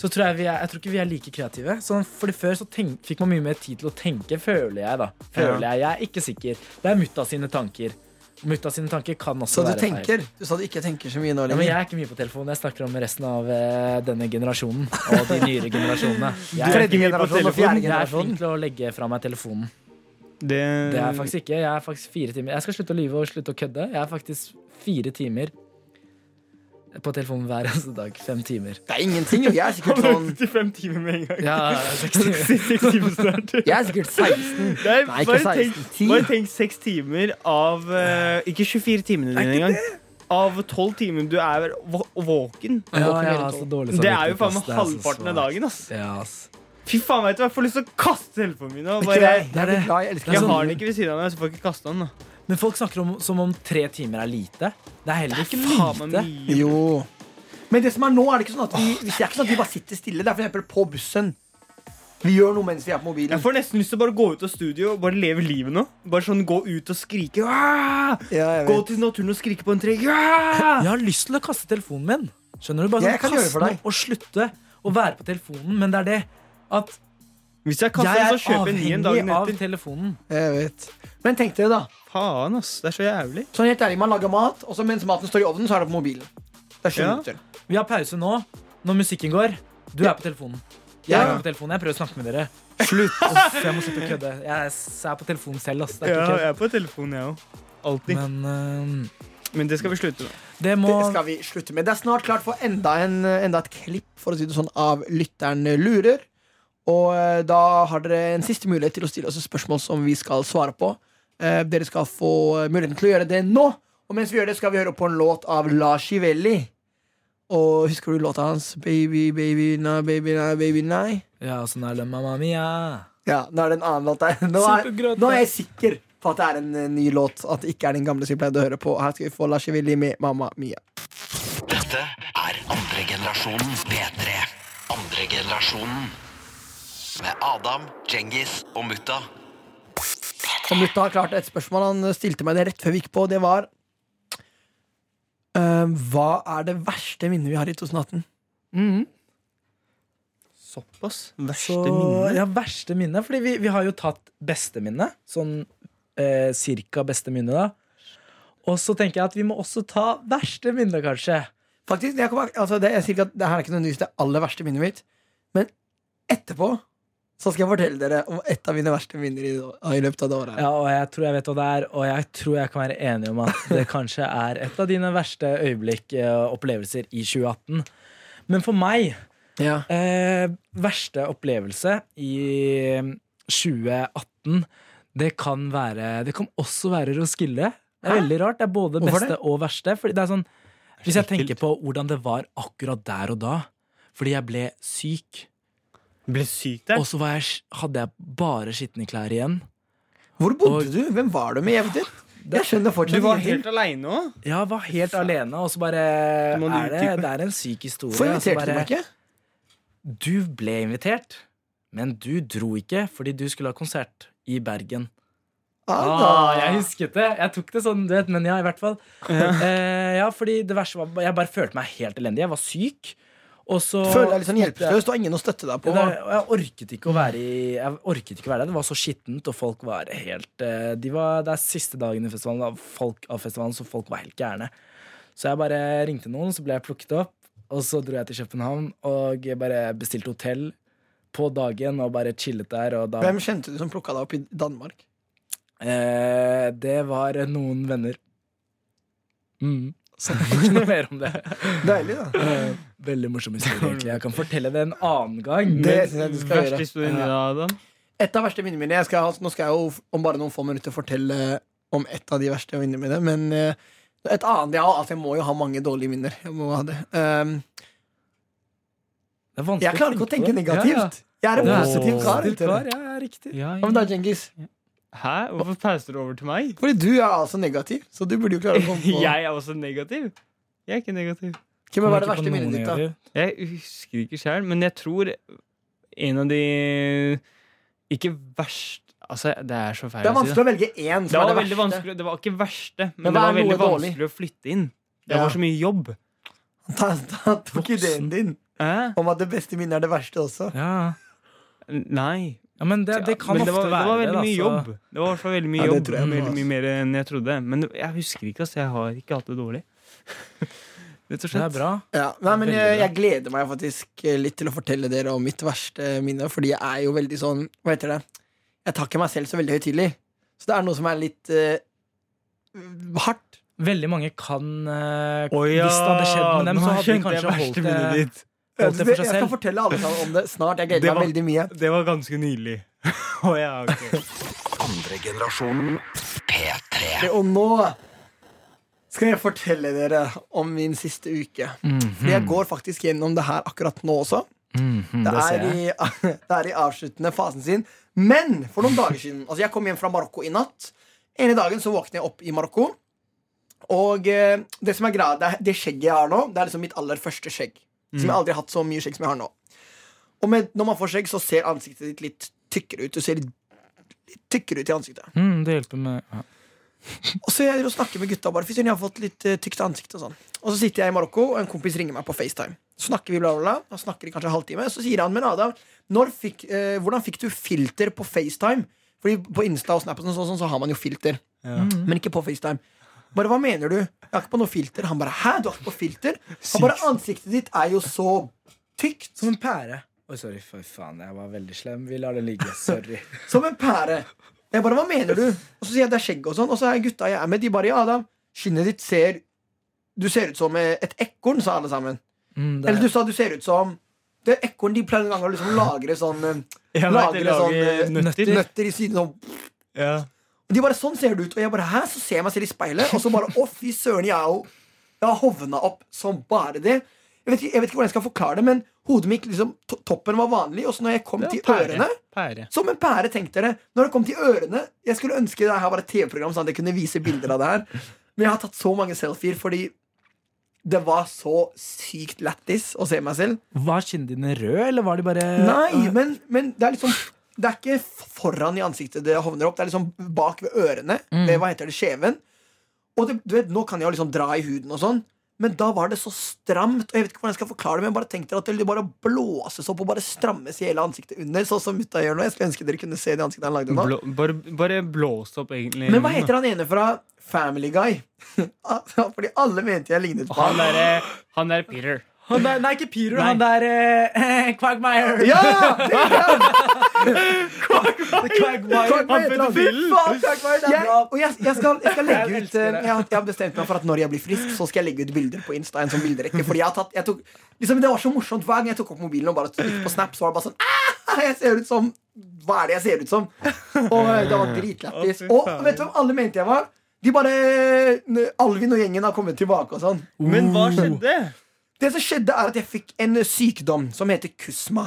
Speaker 4: så tror jeg, vi er, jeg tror ikke vi er like kreative. Sånn, fordi Før så tenk, fikk man mye mer tid til å tenke, føler jeg. da Føler
Speaker 3: Ja.
Speaker 4: jeg, jeg er ikke sikker. Det er mutta sine tanker. Mutta sine tanker kan
Speaker 2: Så
Speaker 4: også
Speaker 2: du
Speaker 4: være feil.
Speaker 2: tenker Du sa du ikke tenker så mye nå
Speaker 4: Ja, men
Speaker 2: lenger.
Speaker 4: jeg er ikke mye på telefonen. Jeg snakker om resten av eh, denne generasjonen. Og de nyere generasjonene. Jeg,
Speaker 3: Tredje
Speaker 4: jeg,
Speaker 3: generasjon og
Speaker 2: fjerde
Speaker 4: er
Speaker 2: generasjon.
Speaker 4: flink til å legge fra meg telefonen.
Speaker 3: Det,
Speaker 4: Det er jeg faktisk ikke. Jeg er faktisk fire timer Jeg skal slutte å lyve og slutte å kødde. Jeg er faktisk fire timer på telefonen hver eneste dag. Fem timer.
Speaker 2: Det er ingenting. jo. Jeg er sikkert
Speaker 3: Han
Speaker 2: sånn
Speaker 3: økte til fem timer med en gang.
Speaker 4: Ja, seks timer.
Speaker 3: Seks timer snart.
Speaker 2: Jeg er sikkert 16.
Speaker 3: Det er,
Speaker 2: Nei, ikke
Speaker 3: bare,
Speaker 2: 16,
Speaker 3: tenk,
Speaker 2: 10.
Speaker 3: bare tenk seks timer av eh, Ikke 24 timene dine engang. Av tolv timer du er vå- våken.
Speaker 4: Ja, jeg har så dårlig
Speaker 3: Det er jo faen meg
Speaker 4: samvittighet, ass. Det er så
Speaker 3: halvparten av
Speaker 4: svakt.
Speaker 3: dagen. ass
Speaker 4: Ja, ass.
Speaker 3: Fy faen, vet du, hva, Jeg får lyst til å kaste telefonen min. Og
Speaker 2: Ikke
Speaker 3: bare,
Speaker 2: det. Jeg er blitt glad. Jeg elsker sånn.
Speaker 3: jeg
Speaker 2: deg.
Speaker 3: har den ikke ved siden av meg, så får jeg ikke kaste den. da
Speaker 4: Men folk snakker om, som om tre timer er lite. Det er heller ikke
Speaker 3: Faen meg
Speaker 4: lite.
Speaker 3: mye.
Speaker 2: Jo. Men det som er nå, er det ikke sånn at vi, hvis det er ikke sånn at vi bare sitter stille. Det er for eksempel på bussen. Vi gjør noe mens vi er
Speaker 3: Jeg
Speaker 2: på mobilen.
Speaker 3: får nesten lyst til å bare gå ut av studio og bare leve livet nå. Bare sånn Gå ut og skrike. «Ah!»
Speaker 2: Ja, jeg
Speaker 3: Gå
Speaker 2: vet.
Speaker 3: til naturen og skrike på en tre. «Ah!»
Speaker 4: Jeg har lyst til å kaste telefonen min. Skjønner du? Bare
Speaker 2: Jeg
Speaker 4: sånn,
Speaker 2: kan gjøre det for
Speaker 4: kaste
Speaker 2: deg.
Speaker 4: den og slutte å være på telefonen. Men det er det at
Speaker 3: Hvis jeg kaster
Speaker 4: jeg
Speaker 3: den,
Speaker 4: er
Speaker 3: så kjøper jeg en ny en
Speaker 4: avhengig
Speaker 3: dagen
Speaker 4: av
Speaker 3: etter.
Speaker 4: telefonen.
Speaker 2: Jeg vet. Men tenk dere, da.
Speaker 3: Faen, ass. Det er så jævlig.
Speaker 2: Sånn helt ærlig, Man lager mat, og så mens maten står i ovnen, så er det på mobilen. Det er sju
Speaker 3: Ja.
Speaker 2: minutter.
Speaker 4: Vi har pause nå, når musikken går. Du er på telefonen. Jeg
Speaker 2: Ja.
Speaker 4: er på telefonen, jeg prøver å snakke med dere. Slutt. Uff, jeg må slutte å kødde. Jeg er, s- jeg er på telefonen selv. Ass. Det er
Speaker 3: Ja,
Speaker 4: ikke
Speaker 3: jeg er på telefonen, jeg òg. Alltid.
Speaker 4: kødd. Men øhm,
Speaker 3: Men det skal vi slutte med.
Speaker 4: det må
Speaker 2: Det skal vi slutte med. Det er snart klart for enda, en, enda et klipp for å si det sånn, av Lytteren lurer. Og eh, da har dere en siste mulighet til å stille oss et spørsmål som vi skal svare på. Eh, Dere skal få muligheten til å gjøre det nå. Og mens vi gjør det, skal vi høre på en låt av Lars Ivelli. Og husker du låta hans? Baby, baby, nei, baby, nei, baby, nei.
Speaker 4: Ja, sånn er det, mamma mia.
Speaker 2: Ja, nå er det en annen låt der. Nå er,
Speaker 4: Supergrøt,
Speaker 2: nå er
Speaker 4: da.
Speaker 2: jeg sikker på at det er en eh, ny låt. At det ikke er den gamle som vi pleide å høre på. Her skal vi få Lars Ivelli med Mamma Mia.
Speaker 1: Dette er andre generasjonen P3. Andre generasjonen med Adam, Djengis og Mutta.
Speaker 2: Og mutta har klart et spørsmål han stilte meg det rett før vi gikk på. Det var eh, Hva er det verste minnet vi har i 2018?
Speaker 3: Såpass. Verste
Speaker 4: Så,
Speaker 3: minne.
Speaker 4: ja, verste minne. Fordi vi, vi har jo tatt beste minne. Sånn eh, cirka beste minne, da. Og så tenker jeg at vi må også ta verste minne, kanskje.
Speaker 2: Faktisk, jeg kommer, altså det, jeg sier ikke at det her er ikke noe nytt, det aller verste minnet mitt. Men etterpå så skal jeg fortelle dere om et av mine verste minner i, i løpet av det året. her.
Speaker 4: Ja, og jeg tror jeg vet hva det er, og jeg tror jeg kan være enig om at det kanskje er et av dine verste øyeblikk eh, og opplevelser i 2018. Men for meg eh, Verste opplevelse i 2018, det kan være Det kan også være Roskilde. Det er veldig rart. Det er både
Speaker 2: Hvorfor
Speaker 4: beste
Speaker 2: det?
Speaker 4: og verste. Fordi det er sånn, hvis jeg tenker på hvordan det var akkurat der og da Fordi jeg ble syk,
Speaker 3: Ble syk der.
Speaker 4: og så var jeg, hadde jeg bare skitne klær igjen.
Speaker 2: Hvor bodde
Speaker 4: Og-
Speaker 2: du? Hvem var du med hjem til? Jeg skjønner
Speaker 3: Du
Speaker 2: fortsatt
Speaker 3: var
Speaker 2: ingenting.
Speaker 3: helt aleine òg.
Speaker 4: Ja, var helt alene, og så bare
Speaker 3: Du må
Speaker 4: er det,
Speaker 3: utdype.
Speaker 4: det er en syk historie.
Speaker 2: Hvorfor
Speaker 4: og så
Speaker 2: inviterte du meg
Speaker 4: bare,
Speaker 2: ikke?
Speaker 4: du ble invitert, men du dro ikke fordi du skulle ha konsert i Bergen. Ah, jeg husket det. Jeg tok det sånn, du vet, men ja, i hvert fall. Eh, ja, fordi det verste var Jeg bare følte meg helt elendig. Jeg var syk. Og så
Speaker 2: Føler deg litt sånn hjelpeløs. Du har ingen å støtte deg
Speaker 4: Ja,
Speaker 2: på.
Speaker 4: da- og jeg orket ikke å være i Jeg orket ikke å være der. Det var så skittent, og folk var helt eh, de var, Det er siste dagen i festivalen, da, folk, av festivalen, så folk var helt gærne. Så jeg bare ringte noen, så ble jeg plukket opp. Og så dro jeg til København og jeg bare bestilte hotell på dagen og bare chillet der. Og da,
Speaker 2: Hvem kjente du som plukka deg opp i Danmark?
Speaker 4: eh, det var noen venner. Mm. Så det er ikke noe mer om det.
Speaker 2: Deilig, da.
Speaker 4: Eh, Veldig morsom historie, egentlig. Jeg kan fortelle det en annen gang.
Speaker 2: Det synes jeg du skal
Speaker 3: Verste
Speaker 2: gjøre.
Speaker 3: historien din, Adam.
Speaker 2: Et av verste minnene mine jeg skal, Nå skal jeg jo om bare noen få minutter fortelle om et av de verste minnene mine. Men eh, et annet jeg har Altså, jeg må jo ha mange dårlige minner. Jeg må ha det. Ehm,
Speaker 4: Det er vanskelig
Speaker 2: jeg klarer ikke å
Speaker 4: på
Speaker 2: tenke
Speaker 4: det. Ja, ja.
Speaker 2: negativt. Jeg er en
Speaker 4: Du er
Speaker 2: positiv
Speaker 4: så
Speaker 2: kar.
Speaker 4: positiv
Speaker 2: vet du.
Speaker 4: kar, ja, riktig.
Speaker 2: Hva med deg, Djengis?
Speaker 3: Hæ? Hvorfor pauser du over til meg?
Speaker 2: Fordi du er altså negativ, så du burde jo klare å komme på
Speaker 3: Jeg er også negativ. Jeg er ikke negativ.
Speaker 2: Hvem var det
Speaker 4: Kommer ikke på
Speaker 2: verste minnet
Speaker 4: noen
Speaker 2: ditt, da?
Speaker 4: negativ.
Speaker 3: Jeg husker ikke sjøl, men jeg tror en av de Ikke verst Altså, det er så feil
Speaker 2: Det er
Speaker 3: å si. da.
Speaker 2: vanskelig å velge én
Speaker 3: Det
Speaker 2: som
Speaker 3: var
Speaker 2: er
Speaker 3: veldig
Speaker 2: det verste.
Speaker 3: vanskelig Det var ikke verste, men,
Speaker 2: Men
Speaker 3: det
Speaker 2: hva
Speaker 3: var
Speaker 2: er noe
Speaker 3: veldig
Speaker 2: dårlig?
Speaker 3: vanskelig å flytte inn. Det
Speaker 2: Ja.
Speaker 3: var så mye jobb.
Speaker 2: Ta, ta, tok ideen
Speaker 4: Voksen.
Speaker 2: din
Speaker 3: Hæ?
Speaker 2: om at det beste minnet er det verste også.
Speaker 4: Ja.
Speaker 3: Nei.
Speaker 4: ja, men det, det altså. kan
Speaker 3: men
Speaker 4: ofte
Speaker 3: det var,
Speaker 4: være
Speaker 3: Det var veldig mye
Speaker 4: da, så-
Speaker 3: jobb. Det var i hvert fall veldig mye
Speaker 2: Ja, det
Speaker 3: jobb.
Speaker 2: tror jeg det var,
Speaker 3: veldig mye mer enn jeg trodde. Men det- jeg husker ikke, altså. Jeg har ikke hatt det dårlig. Rett og
Speaker 4: Det
Speaker 3: slett.
Speaker 4: er bra.
Speaker 2: Ja. Nei, men
Speaker 4: Veldig
Speaker 2: jeg,
Speaker 4: bra.
Speaker 2: jeg gleder meg faktisk eh, litt til å fortelle dere om mitt verste minne, fordi jeg er jo veldig sånn Hva heter det? Jeg tar ikke meg selv så veldig høytidelig. Så det er noe som er litt eh, hardt.
Speaker 4: Veldig mange kan eh,
Speaker 3: Å ja,
Speaker 4: Hvis det hadde skjedd med dem,
Speaker 3: nå
Speaker 4: så hadde de
Speaker 3: skjønte jeg verste
Speaker 4: kanskje holdt eh, det,
Speaker 3: minnet ditt.
Speaker 2: Jeg
Speaker 4: holdt det for seg
Speaker 2: skal
Speaker 4: selv.
Speaker 2: fortelle alle sammen om det snart. Jeg
Speaker 3: Det
Speaker 2: gleder meg
Speaker 3: var-
Speaker 2: veldig mye.
Speaker 3: Det var ganske nydelig. Å ja, ok.
Speaker 1: Andre generasjonen P3.
Speaker 2: Og nå skal jeg fortelle dere om min siste uke. For jeg går faktisk gjennom det her akkurat nå også.
Speaker 4: Mhm,
Speaker 2: Det
Speaker 4: det ser
Speaker 2: er,
Speaker 4: jeg.
Speaker 2: i, det er i avsluttende fasen sin. Men for noen dager siden Altså Jeg kom hjem fra Marokko i natt. En i dagen så våkner jeg opp i Marokko. Og eh, det som er greia, det, er- det skjegget jeg har nå, Det er liksom mitt aller første skjegg. Som
Speaker 4: Mm.
Speaker 2: jeg aldri har hatt så mye skjegg som jeg har nå. Og med, når man får skjegg, så ser ansiktet ditt litt tykkere ut. Du ser litt, litt tykkere ut i ansiktet.
Speaker 4: Mm, det hjelper med ja.
Speaker 2: Og så jeg driver og snakker med gutta bare Fy søren, jeg har fått litt eh, tykt ansikt og sånn Og så sitter jeg i Marokko, og en kompis ringer meg på FaceTime Så snakker vi bla bla bla Og snakker i kanskje en halvtime Så sier han, men Adam når fikk, eh, Hvordan fikk du filter på FaceTime? Fordi på Insta og Snap og sånn, sånn, sånn så har man jo filter
Speaker 3: Ja.
Speaker 2: Men ikke på FaceTime Bare, hva mener du? Jeg har ikke på noe filter Han bare, hæ? Du har ikke på filter? Han bare, ansiktet ditt er jo så tykt
Speaker 4: Som en pære. Oi, sorry, for faen, jeg var veldig slem. Vi lar det ligge. Sorry.
Speaker 2: Som en pære. Jeg bare, hva mener du? Og så sier jeg det er skjegg og sånn. Og så er gutta jeg er med, de bare ja, Adam, skinnet ditt ser Du ser ut som et ekorn, sa alle sammen.
Speaker 4: Mm, det er-
Speaker 2: Eller du sa du ser ut som Det er ekorn de pleier en gang å liksom lagre sånn eh,
Speaker 3: Jeg vet,
Speaker 2: Lagre
Speaker 3: jeg
Speaker 2: sånn
Speaker 3: lager
Speaker 2: eh,
Speaker 3: nøtter.
Speaker 2: nøtter i siden sånn.
Speaker 3: Ja.
Speaker 2: Og de bare, sånn ser du ut. Og jeg bare, hæ? Så ser jeg meg selv i speilet, og så bare, å fy søren, jeg er jo Jeg har hovna opp som bare det. Jeg vet, ikke, jeg vet ikke hvordan jeg skal forklare det, men hodet mitt, liksom, to toppen var vanlig, og så når jeg kom
Speaker 3: Det
Speaker 2: til
Speaker 3: var pære.
Speaker 2: ørene
Speaker 3: Pære.
Speaker 2: som en pære, tenk dere. Når det kom til ørene Jeg skulle ønske det her var et TV-program, sånn at jeg kunne vise bilder av det her. Men jeg har tatt så mange selfier fordi det var så sykt lættis å se meg selv.
Speaker 4: Var kinnene dine røde, eller var de bare
Speaker 2: Nei, men, men det er liksom Det er ikke foran i ansiktet det hovner opp, det er liksom bak ved ørene. Ved, hva heter det, skjeven. Og det, du vet, nå kan jeg jo liksom dra i huden og sånn. Men da var det så stramt. Og jeg vet ikke hvordan jeg skal forklare det Men bare tenk dere at det liksom bare blåses opp og bare strammes i hele ansiktet under. Sånn som mutta gjør nå. Jeg skulle ønske dere kunne se det ansiktet han lagde nå.
Speaker 3: Blå, bare, bare blås opp, egentlig.
Speaker 2: Men hva heter han ene fra Family Guy? Fordi alle mente jeg lignet på
Speaker 3: Han
Speaker 2: han.
Speaker 3: derre Han der Peter.
Speaker 4: Han der, nei, ikke Pyro.
Speaker 3: Nei.
Speaker 4: Han der eh, Quagmire.
Speaker 2: Ja! det er han!
Speaker 4: Quagmire.
Speaker 2: Quagmire heter han. Fy faen, Quagmire, det er
Speaker 4: Jeg-
Speaker 2: bra. Og jeg, jeg, skal, jeg skal legge
Speaker 4: Jeg
Speaker 2: ut
Speaker 4: elsker
Speaker 2: eh,
Speaker 4: det.
Speaker 2: jeg, har- jeg har bestemt meg for at når jeg blir frisk, så skal jeg legge ut bilder på Insta. En sånn bilderekke Fordi jeg har tatt jeg tok, liksom, Det var så morsomt hver gang jeg tok opp mobilen og bare trykte på Snap. Så var det bare sånn «Ah, Jeg ser ut som Hva er det jeg ser ut som? Og eh, det var
Speaker 3: Å,
Speaker 2: dritlættis.
Speaker 3: fy
Speaker 2: Og
Speaker 3: faen.
Speaker 2: vet du hvem alle mente jeg var? De bare eh, Alvin og gjengen har kommet tilbake og sånn.
Speaker 3: Men hva skjedde?
Speaker 2: Det som skjedde er at jeg fikk en eh, sykdom som heter kusma.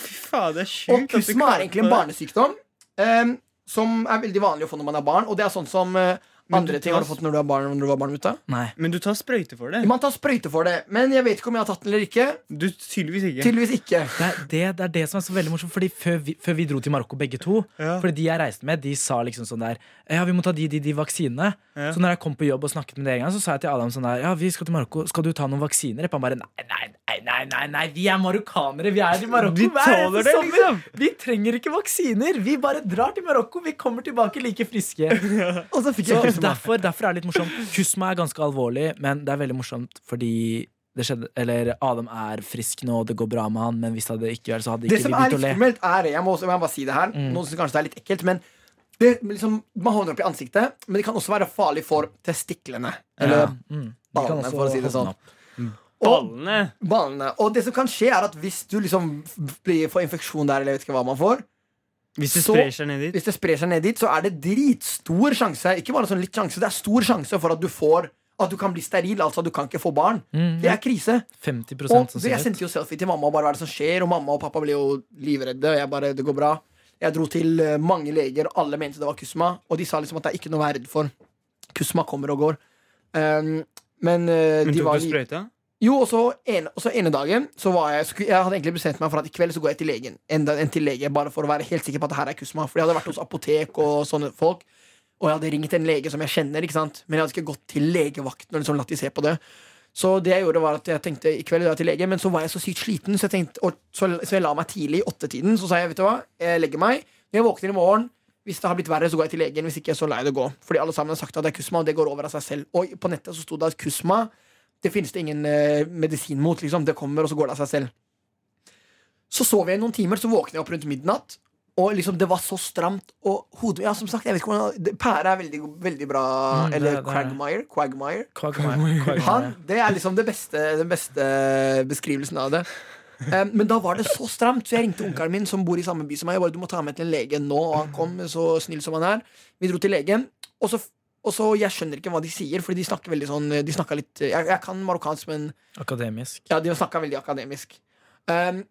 Speaker 3: Fy faen, det er
Speaker 2: Og
Speaker 3: sjukt. at du
Speaker 2: kusma
Speaker 3: kalte
Speaker 2: er egentlig en
Speaker 3: det.
Speaker 2: barnesykdom em, som er veldig vanlig å få når man er barn. Og det er sånn som eh,
Speaker 3: Men
Speaker 2: andre
Speaker 3: du
Speaker 2: ting
Speaker 3: tar Mm.
Speaker 2: har du fått når du er barn. Når du var barn ute.
Speaker 4: Nei.
Speaker 3: Men du tar sprøyte for det?
Speaker 2: Man tar sprøyte for det, men jeg vet ikke om jeg har tatt den eller ikke.
Speaker 3: Du Tydeligvis ikke.
Speaker 2: Tydeligvis ikke.
Speaker 4: Det er det, det er det som er så veldig morsomt. Fordi Før vi, før vi dro til Marokko, begge to
Speaker 3: Ja.
Speaker 4: Fordi de jeg reiste med, de sa liksom sånn der Ja, vi må ta de, de, de vaksinene.
Speaker 3: Ja.
Speaker 4: Så når jeg kom på jobb og snakket med det en gang, så sa jeg til Adam sånn der Ja, vi skal til Marokko, skal du ta noen vaksiner? Han bare nei, nei, nei, nei, nei, nei, vi er marokkanere, vi er i Marokko
Speaker 3: Vi
Speaker 4: hver
Speaker 3: tåler
Speaker 4: eneste
Speaker 3: det,
Speaker 4: sommer.
Speaker 3: liksom.
Speaker 4: Vi trenger ikke vaksiner. Vi bare drar til Marokko, vi kommer tilbake like friske.
Speaker 2: Og så fikk
Speaker 4: Så
Speaker 2: jeg kusma.
Speaker 4: derfor, derfor er det litt morsomt. Kusma er ganske alvorlig, men det er veldig morsomt fordi det skjedde, eller Adam er frisk nå, og det går bra med han, men hvis det hadde ikke vært, så hadde
Speaker 2: Det
Speaker 4: ikke vi
Speaker 2: som er
Speaker 4: begynt
Speaker 2: litt
Speaker 4: å le.
Speaker 2: skummelt, er Jeg må også jeg må bare si det her.
Speaker 3: Mm.
Speaker 2: Noen synes kanskje det er litt ekkelt, men det, liksom, man håner opp i ansiktet, men det kan også være farlig for testiklene. Eller
Speaker 4: Ja, mm. De kan
Speaker 2: ballene,
Speaker 4: også
Speaker 2: eh, for å si det
Speaker 4: holde den
Speaker 2: sånn.
Speaker 4: opp.
Speaker 2: Og
Speaker 3: Ballene.
Speaker 2: ballene. Og det som kan skje, er at hvis du liksom f- blir, får infeksjon der, eller jeg vet ikke hva man får,
Speaker 3: Hvis det
Speaker 2: Så-
Speaker 3: sprer seg ned dit.
Speaker 2: hvis det sprer seg ned dit, så er det dritstor sjanse Ikke bare sånn litt sjanse, det er stor sjanse for at du får At du kan bli steril, altså at du kan ikke få barn.
Speaker 3: Mhm.
Speaker 4: Mm.
Speaker 2: Det er krise.
Speaker 4: 50
Speaker 2: Og det, jeg
Speaker 4: sannsynlighet.
Speaker 2: sendte jo selfie til mamma, og bare hva er det som skjer? Og mamma og pappa ble jo livredde, og jeg bare Det går bra. Jeg dro til eh, mange leger, og alle mente det var kusma. Og de sa liksom at det er ikke noe å være redd for. Kusma kommer og går. Um, men eh,
Speaker 3: Men
Speaker 2: de
Speaker 3: tok
Speaker 2: var
Speaker 3: du
Speaker 2: li-
Speaker 3: sprøyta?
Speaker 2: jo, og så ene, og så ene dagen så var jeg, sku- jeg hadde egentlig bestemt meg for at i kveld så går jeg til legen. Enda en til lege, Bare for å være helt sikker på at det her er kusma. For jeg hadde vært hos apotek og sånne folk. Og jeg hadde ringt en lege som jeg kjenner, ikke sant? men jeg hadde ikke gått til legevakten. og liksom latt de se på det Så det jeg gjorde var at jeg tenkte i kveld drar jeg til lege, men så var jeg så sykt sliten, så jeg, tenkte, og, så, så jeg la meg tidlig i åttetiden. Så sa jeg vet du hva, jeg legger meg. Når jeg våkner i morgen, hvis det har blitt verre, så går jeg til legen. Hvis ikke, så lar jeg det gå. Fordi alle sammen har sagt at det er kusma, og det går over av seg selv. Og på nettet så sto det at kusma det finnes det ingen eh, medisin mot. Liksom. Det kommer, og så går det av seg selv. Så sov jeg i noen timer, så våkner jeg opp rundt midnatt. Og liksom det var så stramt. Og hodet Ja, som sagt, jeg vet ikke hvordan det- Pære er veldig, veldig bra.
Speaker 4: Mm, det-
Speaker 2: eller
Speaker 4: det er-
Speaker 2: Quagmire. Quagmire. Han,
Speaker 4: Quagmire. Quagmire.
Speaker 2: det er liksom det beste, den beste beskrivelsen av det. Em, men da var det så stramt, så jeg ringte onkelen min, som bor i samme by som meg. Jeg bare, du må ta meg til en lege nå Og han kom, så snill som han er. Vi dro til legen. Og så, og så Jeg skjønner ikke hva de sier, Fordi de snakker veldig sånn De snakker litt Jeg, jeg kan marokkansk, men
Speaker 4: Akademisk.
Speaker 2: ja, de snakka veldig akademisk. Em,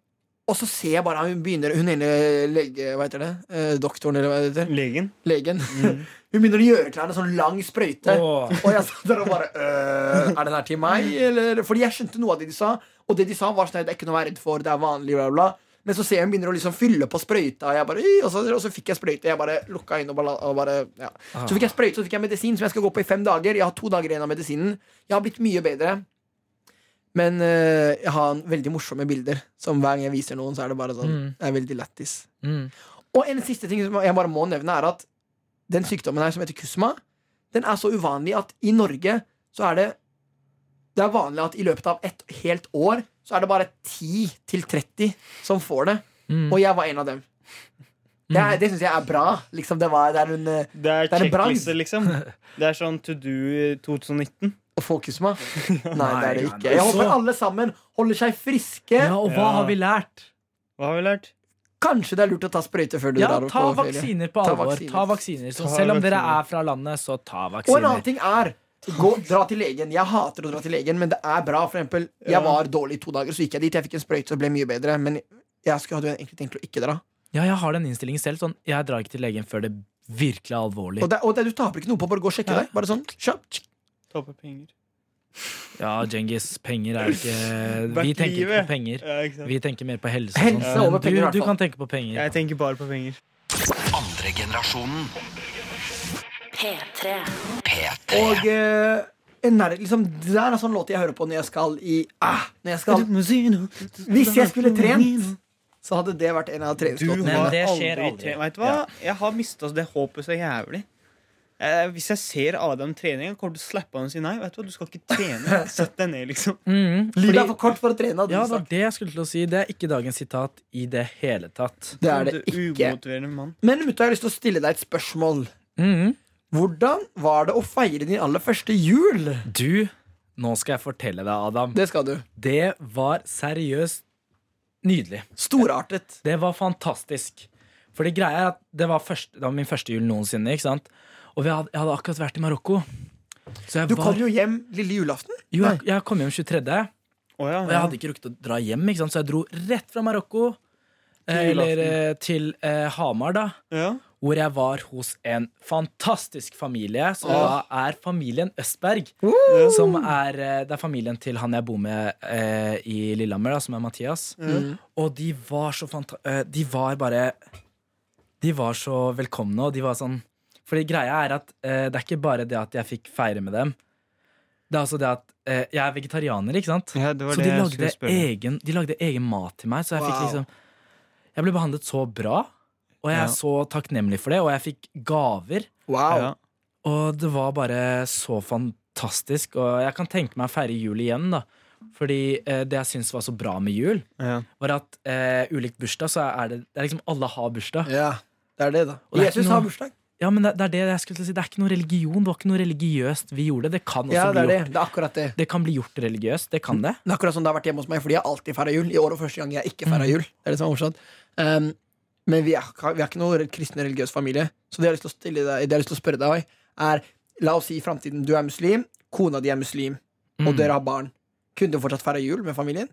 Speaker 2: og så ser jeg bare hun begynner Hun ene lege... Hva heter det? Eh, doktoren, eller hva det heter?
Speaker 3: Legen?
Speaker 2: Legen. hun begynner å gjøre klar en sånn lang sprøyte.
Speaker 4: Mm. Åh.
Speaker 2: Og jeg satt der og bare «Øh, Er den her til meg, eller? Fordi jeg skjønte noe av det de sa. Og det de sa, var sånn at det er ikke noe å være redd for, det er vanlig, bla, bla. Men så ser jeg hun begynner å liksom fylle på sprøyta, og, jeg bare, «Ih», og, så, og så fikk jeg sprøyte. Jeg bare lukka inn og bare, og bare ja. Så
Speaker 4: Ah.
Speaker 2: fikk jeg sprøyte, så fikk jeg medisin som jeg skal gå på i fem dager. Jeg har to dager igjen av medisinen. Jeg har blitt mye bedre. Men øh, jeg har en veldig morsomme bilder, som hver gang jeg viser noen, så er det bare sånn.
Speaker 4: Mm.
Speaker 2: Det er veldig lættis.
Speaker 4: Mm.
Speaker 2: Og en siste ting som jeg bare må nevne, er at den sykdommen her som heter kusma, den er så uvanlig at i Norge så er det Det er vanlig at i løpet av et helt år så er det bare 10-30 som får det.
Speaker 4: Mm.
Speaker 2: Og jeg var en av dem. Det, er- det syns jeg er bra. Liksom, det, var, det er en eh,
Speaker 3: Det er
Speaker 2: Det er en brand.
Speaker 3: sjekkliste, liksom. Det er sånn to do 2019.
Speaker 2: å få kusma. Nei, det er det
Speaker 4: Nei,
Speaker 2: ikke.
Speaker 4: nei,
Speaker 2: Jeg
Speaker 4: så-
Speaker 2: håper alle sammen holder seg friske.
Speaker 4: Ja, og hva
Speaker 3: Ja.
Speaker 4: har vi lært?
Speaker 3: Hva har vi lært?
Speaker 2: Kanskje det er lurt å ta sprøyte før du
Speaker 4: Ja,
Speaker 2: drar
Speaker 4: ta
Speaker 2: på ferie.
Speaker 4: vaksiner på
Speaker 2: Ta
Speaker 4: alvor.
Speaker 2: vaksiner.
Speaker 4: Ta vaksiner. Så
Speaker 3: Ta
Speaker 4: selv om dere
Speaker 3: vaksiner.
Speaker 4: er fra landet, så ta
Speaker 2: Og en annen
Speaker 4: vaksiner.
Speaker 2: ting er Gå, dra til legen. Jeg hater å dra til legen, men det er bra. For eksempel,
Speaker 3: Ja.
Speaker 2: jeg var dårlig i to dager, så gikk jeg dit. Jeg fikk en sprøyte og ble mye bedre. Men jeg skulle hadde jo egentlig tenkt å ikke dra.
Speaker 4: Ja, jeg har den innstillingen selv. Sånn, jeg drar ikke til legen før det virkelig er alvorlig.
Speaker 2: Og, det, og det, du taper ikke noe på å bare gå og sjekke
Speaker 4: Ja.
Speaker 2: deg. Bare sånn, kjapt
Speaker 3: Tape penger.
Speaker 4: Ja, Genghis, penger er ikke Vi
Speaker 3: Vært
Speaker 4: tenker ikke
Speaker 3: livet.
Speaker 4: på penger.
Speaker 3: Ja, ikke sant?
Speaker 4: Vi tenker mer på helse. og
Speaker 2: Helse
Speaker 4: sånt. Men
Speaker 2: over penger, i hvert
Speaker 4: du, du
Speaker 2: fall.
Speaker 4: kan tenke på penger.
Speaker 3: Jeg tenker bare på penger.
Speaker 1: Andre generasjonen.
Speaker 5: P3.
Speaker 1: P3.
Speaker 2: Og eh, en nær, liksom, det der er sånn låt jeg hører på når jeg skal i ah, når jeg skal, Hvis jeg skulle trent, så hadde det vært en av
Speaker 3: Du
Speaker 4: Men
Speaker 2: treningslåtene.
Speaker 3: har
Speaker 4: det skjer
Speaker 3: aldri
Speaker 4: aldri.
Speaker 3: trent. Vet du hva? Jeg har mista det håpet så jævlig. Eh, hvis jeg ser Adam trene, jeg kommer til å slappe han og si nei. Vet du hva, du skal ikke trene. Sett deg ned, liksom.
Speaker 4: Mhm.
Speaker 2: Livet er for kort for å trene. hadde
Speaker 4: Ja,
Speaker 2: du
Speaker 4: det var
Speaker 2: sagt.
Speaker 4: det jeg skulle til å si. Det er ikke dagens sitat i det hele tatt.
Speaker 2: Det er det
Speaker 3: Du
Speaker 2: ikke.
Speaker 3: Umotiverende mann.
Speaker 2: Men mutta, jeg har lyst til å stille deg et spørsmål. Mm-hmm.
Speaker 4: Mhm.
Speaker 2: Hvordan var det å feire din aller første jul?
Speaker 4: Du, nå skal jeg fortelle deg, Adam.
Speaker 2: Det skal du.
Speaker 4: Det var seriøst nydelig.
Speaker 2: Storartet.
Speaker 4: Det var fantastisk. For det greia er at det var, først, det var min første jul noensinne. ikke sant? Og vi hadde, jeg hadde akkurat vært i Marokko. Så jeg,
Speaker 2: Du
Speaker 4: var,
Speaker 2: kom jo hjem lille julaften.
Speaker 4: jo, jeg, jeg kom hjem 23.,
Speaker 3: Å ja,
Speaker 4: og jeg hadde ikke rukket å dra hjem, ikke sant? så jeg dro rett fra Marokko eh,
Speaker 3: Til julaften.
Speaker 4: eller, eh, til eh, Hamar, da.
Speaker 3: ja.
Speaker 4: Hvor jeg var hos en fantastisk familie, som da er familien Østberg. Som er, eh, det er familien til han jeg bor med eh, i Lillehammer, da, som er Mathias. Og de var så fanta... eh, De var bare De var så velkomne, og de var sånn Fordi greia er at eh, det er ikke bare det at jeg fikk feire med dem. Det er også det at eh, jeg er vegetarianer, ikke sant?
Speaker 3: Ja, det var det
Speaker 4: så de
Speaker 3: jeg
Speaker 4: lagde,
Speaker 3: skulle spørre om.
Speaker 4: egen, de lagde egen mat til meg, så jeg fikk
Speaker 2: Wow.
Speaker 4: liksom Jeg ble behandlet så bra, og jeg
Speaker 3: Ja.
Speaker 4: er så takknemlig for det, og jeg fikk gaver.
Speaker 2: Wow.
Speaker 3: Ja.
Speaker 4: Og det var bare så fantastisk, og jeg kan tenke meg å feire jul igjen, da. Fordi eh, det jeg syns var så bra med jul,
Speaker 3: Ja.
Speaker 4: var at eh, ulikt bursdag, så er det, det er liksom alle har bursdag.
Speaker 2: Ja, det er det, da.
Speaker 4: Og det er
Speaker 2: Jesus
Speaker 4: ikke noe-
Speaker 2: har bursdag.
Speaker 4: Ja, men det, det er det jeg skulle til å si. Det er ikke noe religion. Det var ikke noe religiøst vi gjorde. Det kan også
Speaker 2: Ja, det
Speaker 4: bli
Speaker 2: er det.
Speaker 4: gjort.
Speaker 2: Det er akkurat det.
Speaker 4: Det kan bli gjort religiøst. Det kan det.
Speaker 2: Det er akkurat sånn det har vært hjemme hos meg, fordi jeg har alltid feira jul. I år og første gang jeg ikke feira jul. Det er det som er morsomt. Um, men vi er, ikke- vi er ikke noen kristen religiøs familie, så det jeg har lyst til å, stille deg, det jeg har lyst til å spørre deg, er La oss si i framtiden du er muslim, kona di er muslim, og
Speaker 4: Mm.
Speaker 2: dere har barn. Kunne du fortsatt feira jul med familien?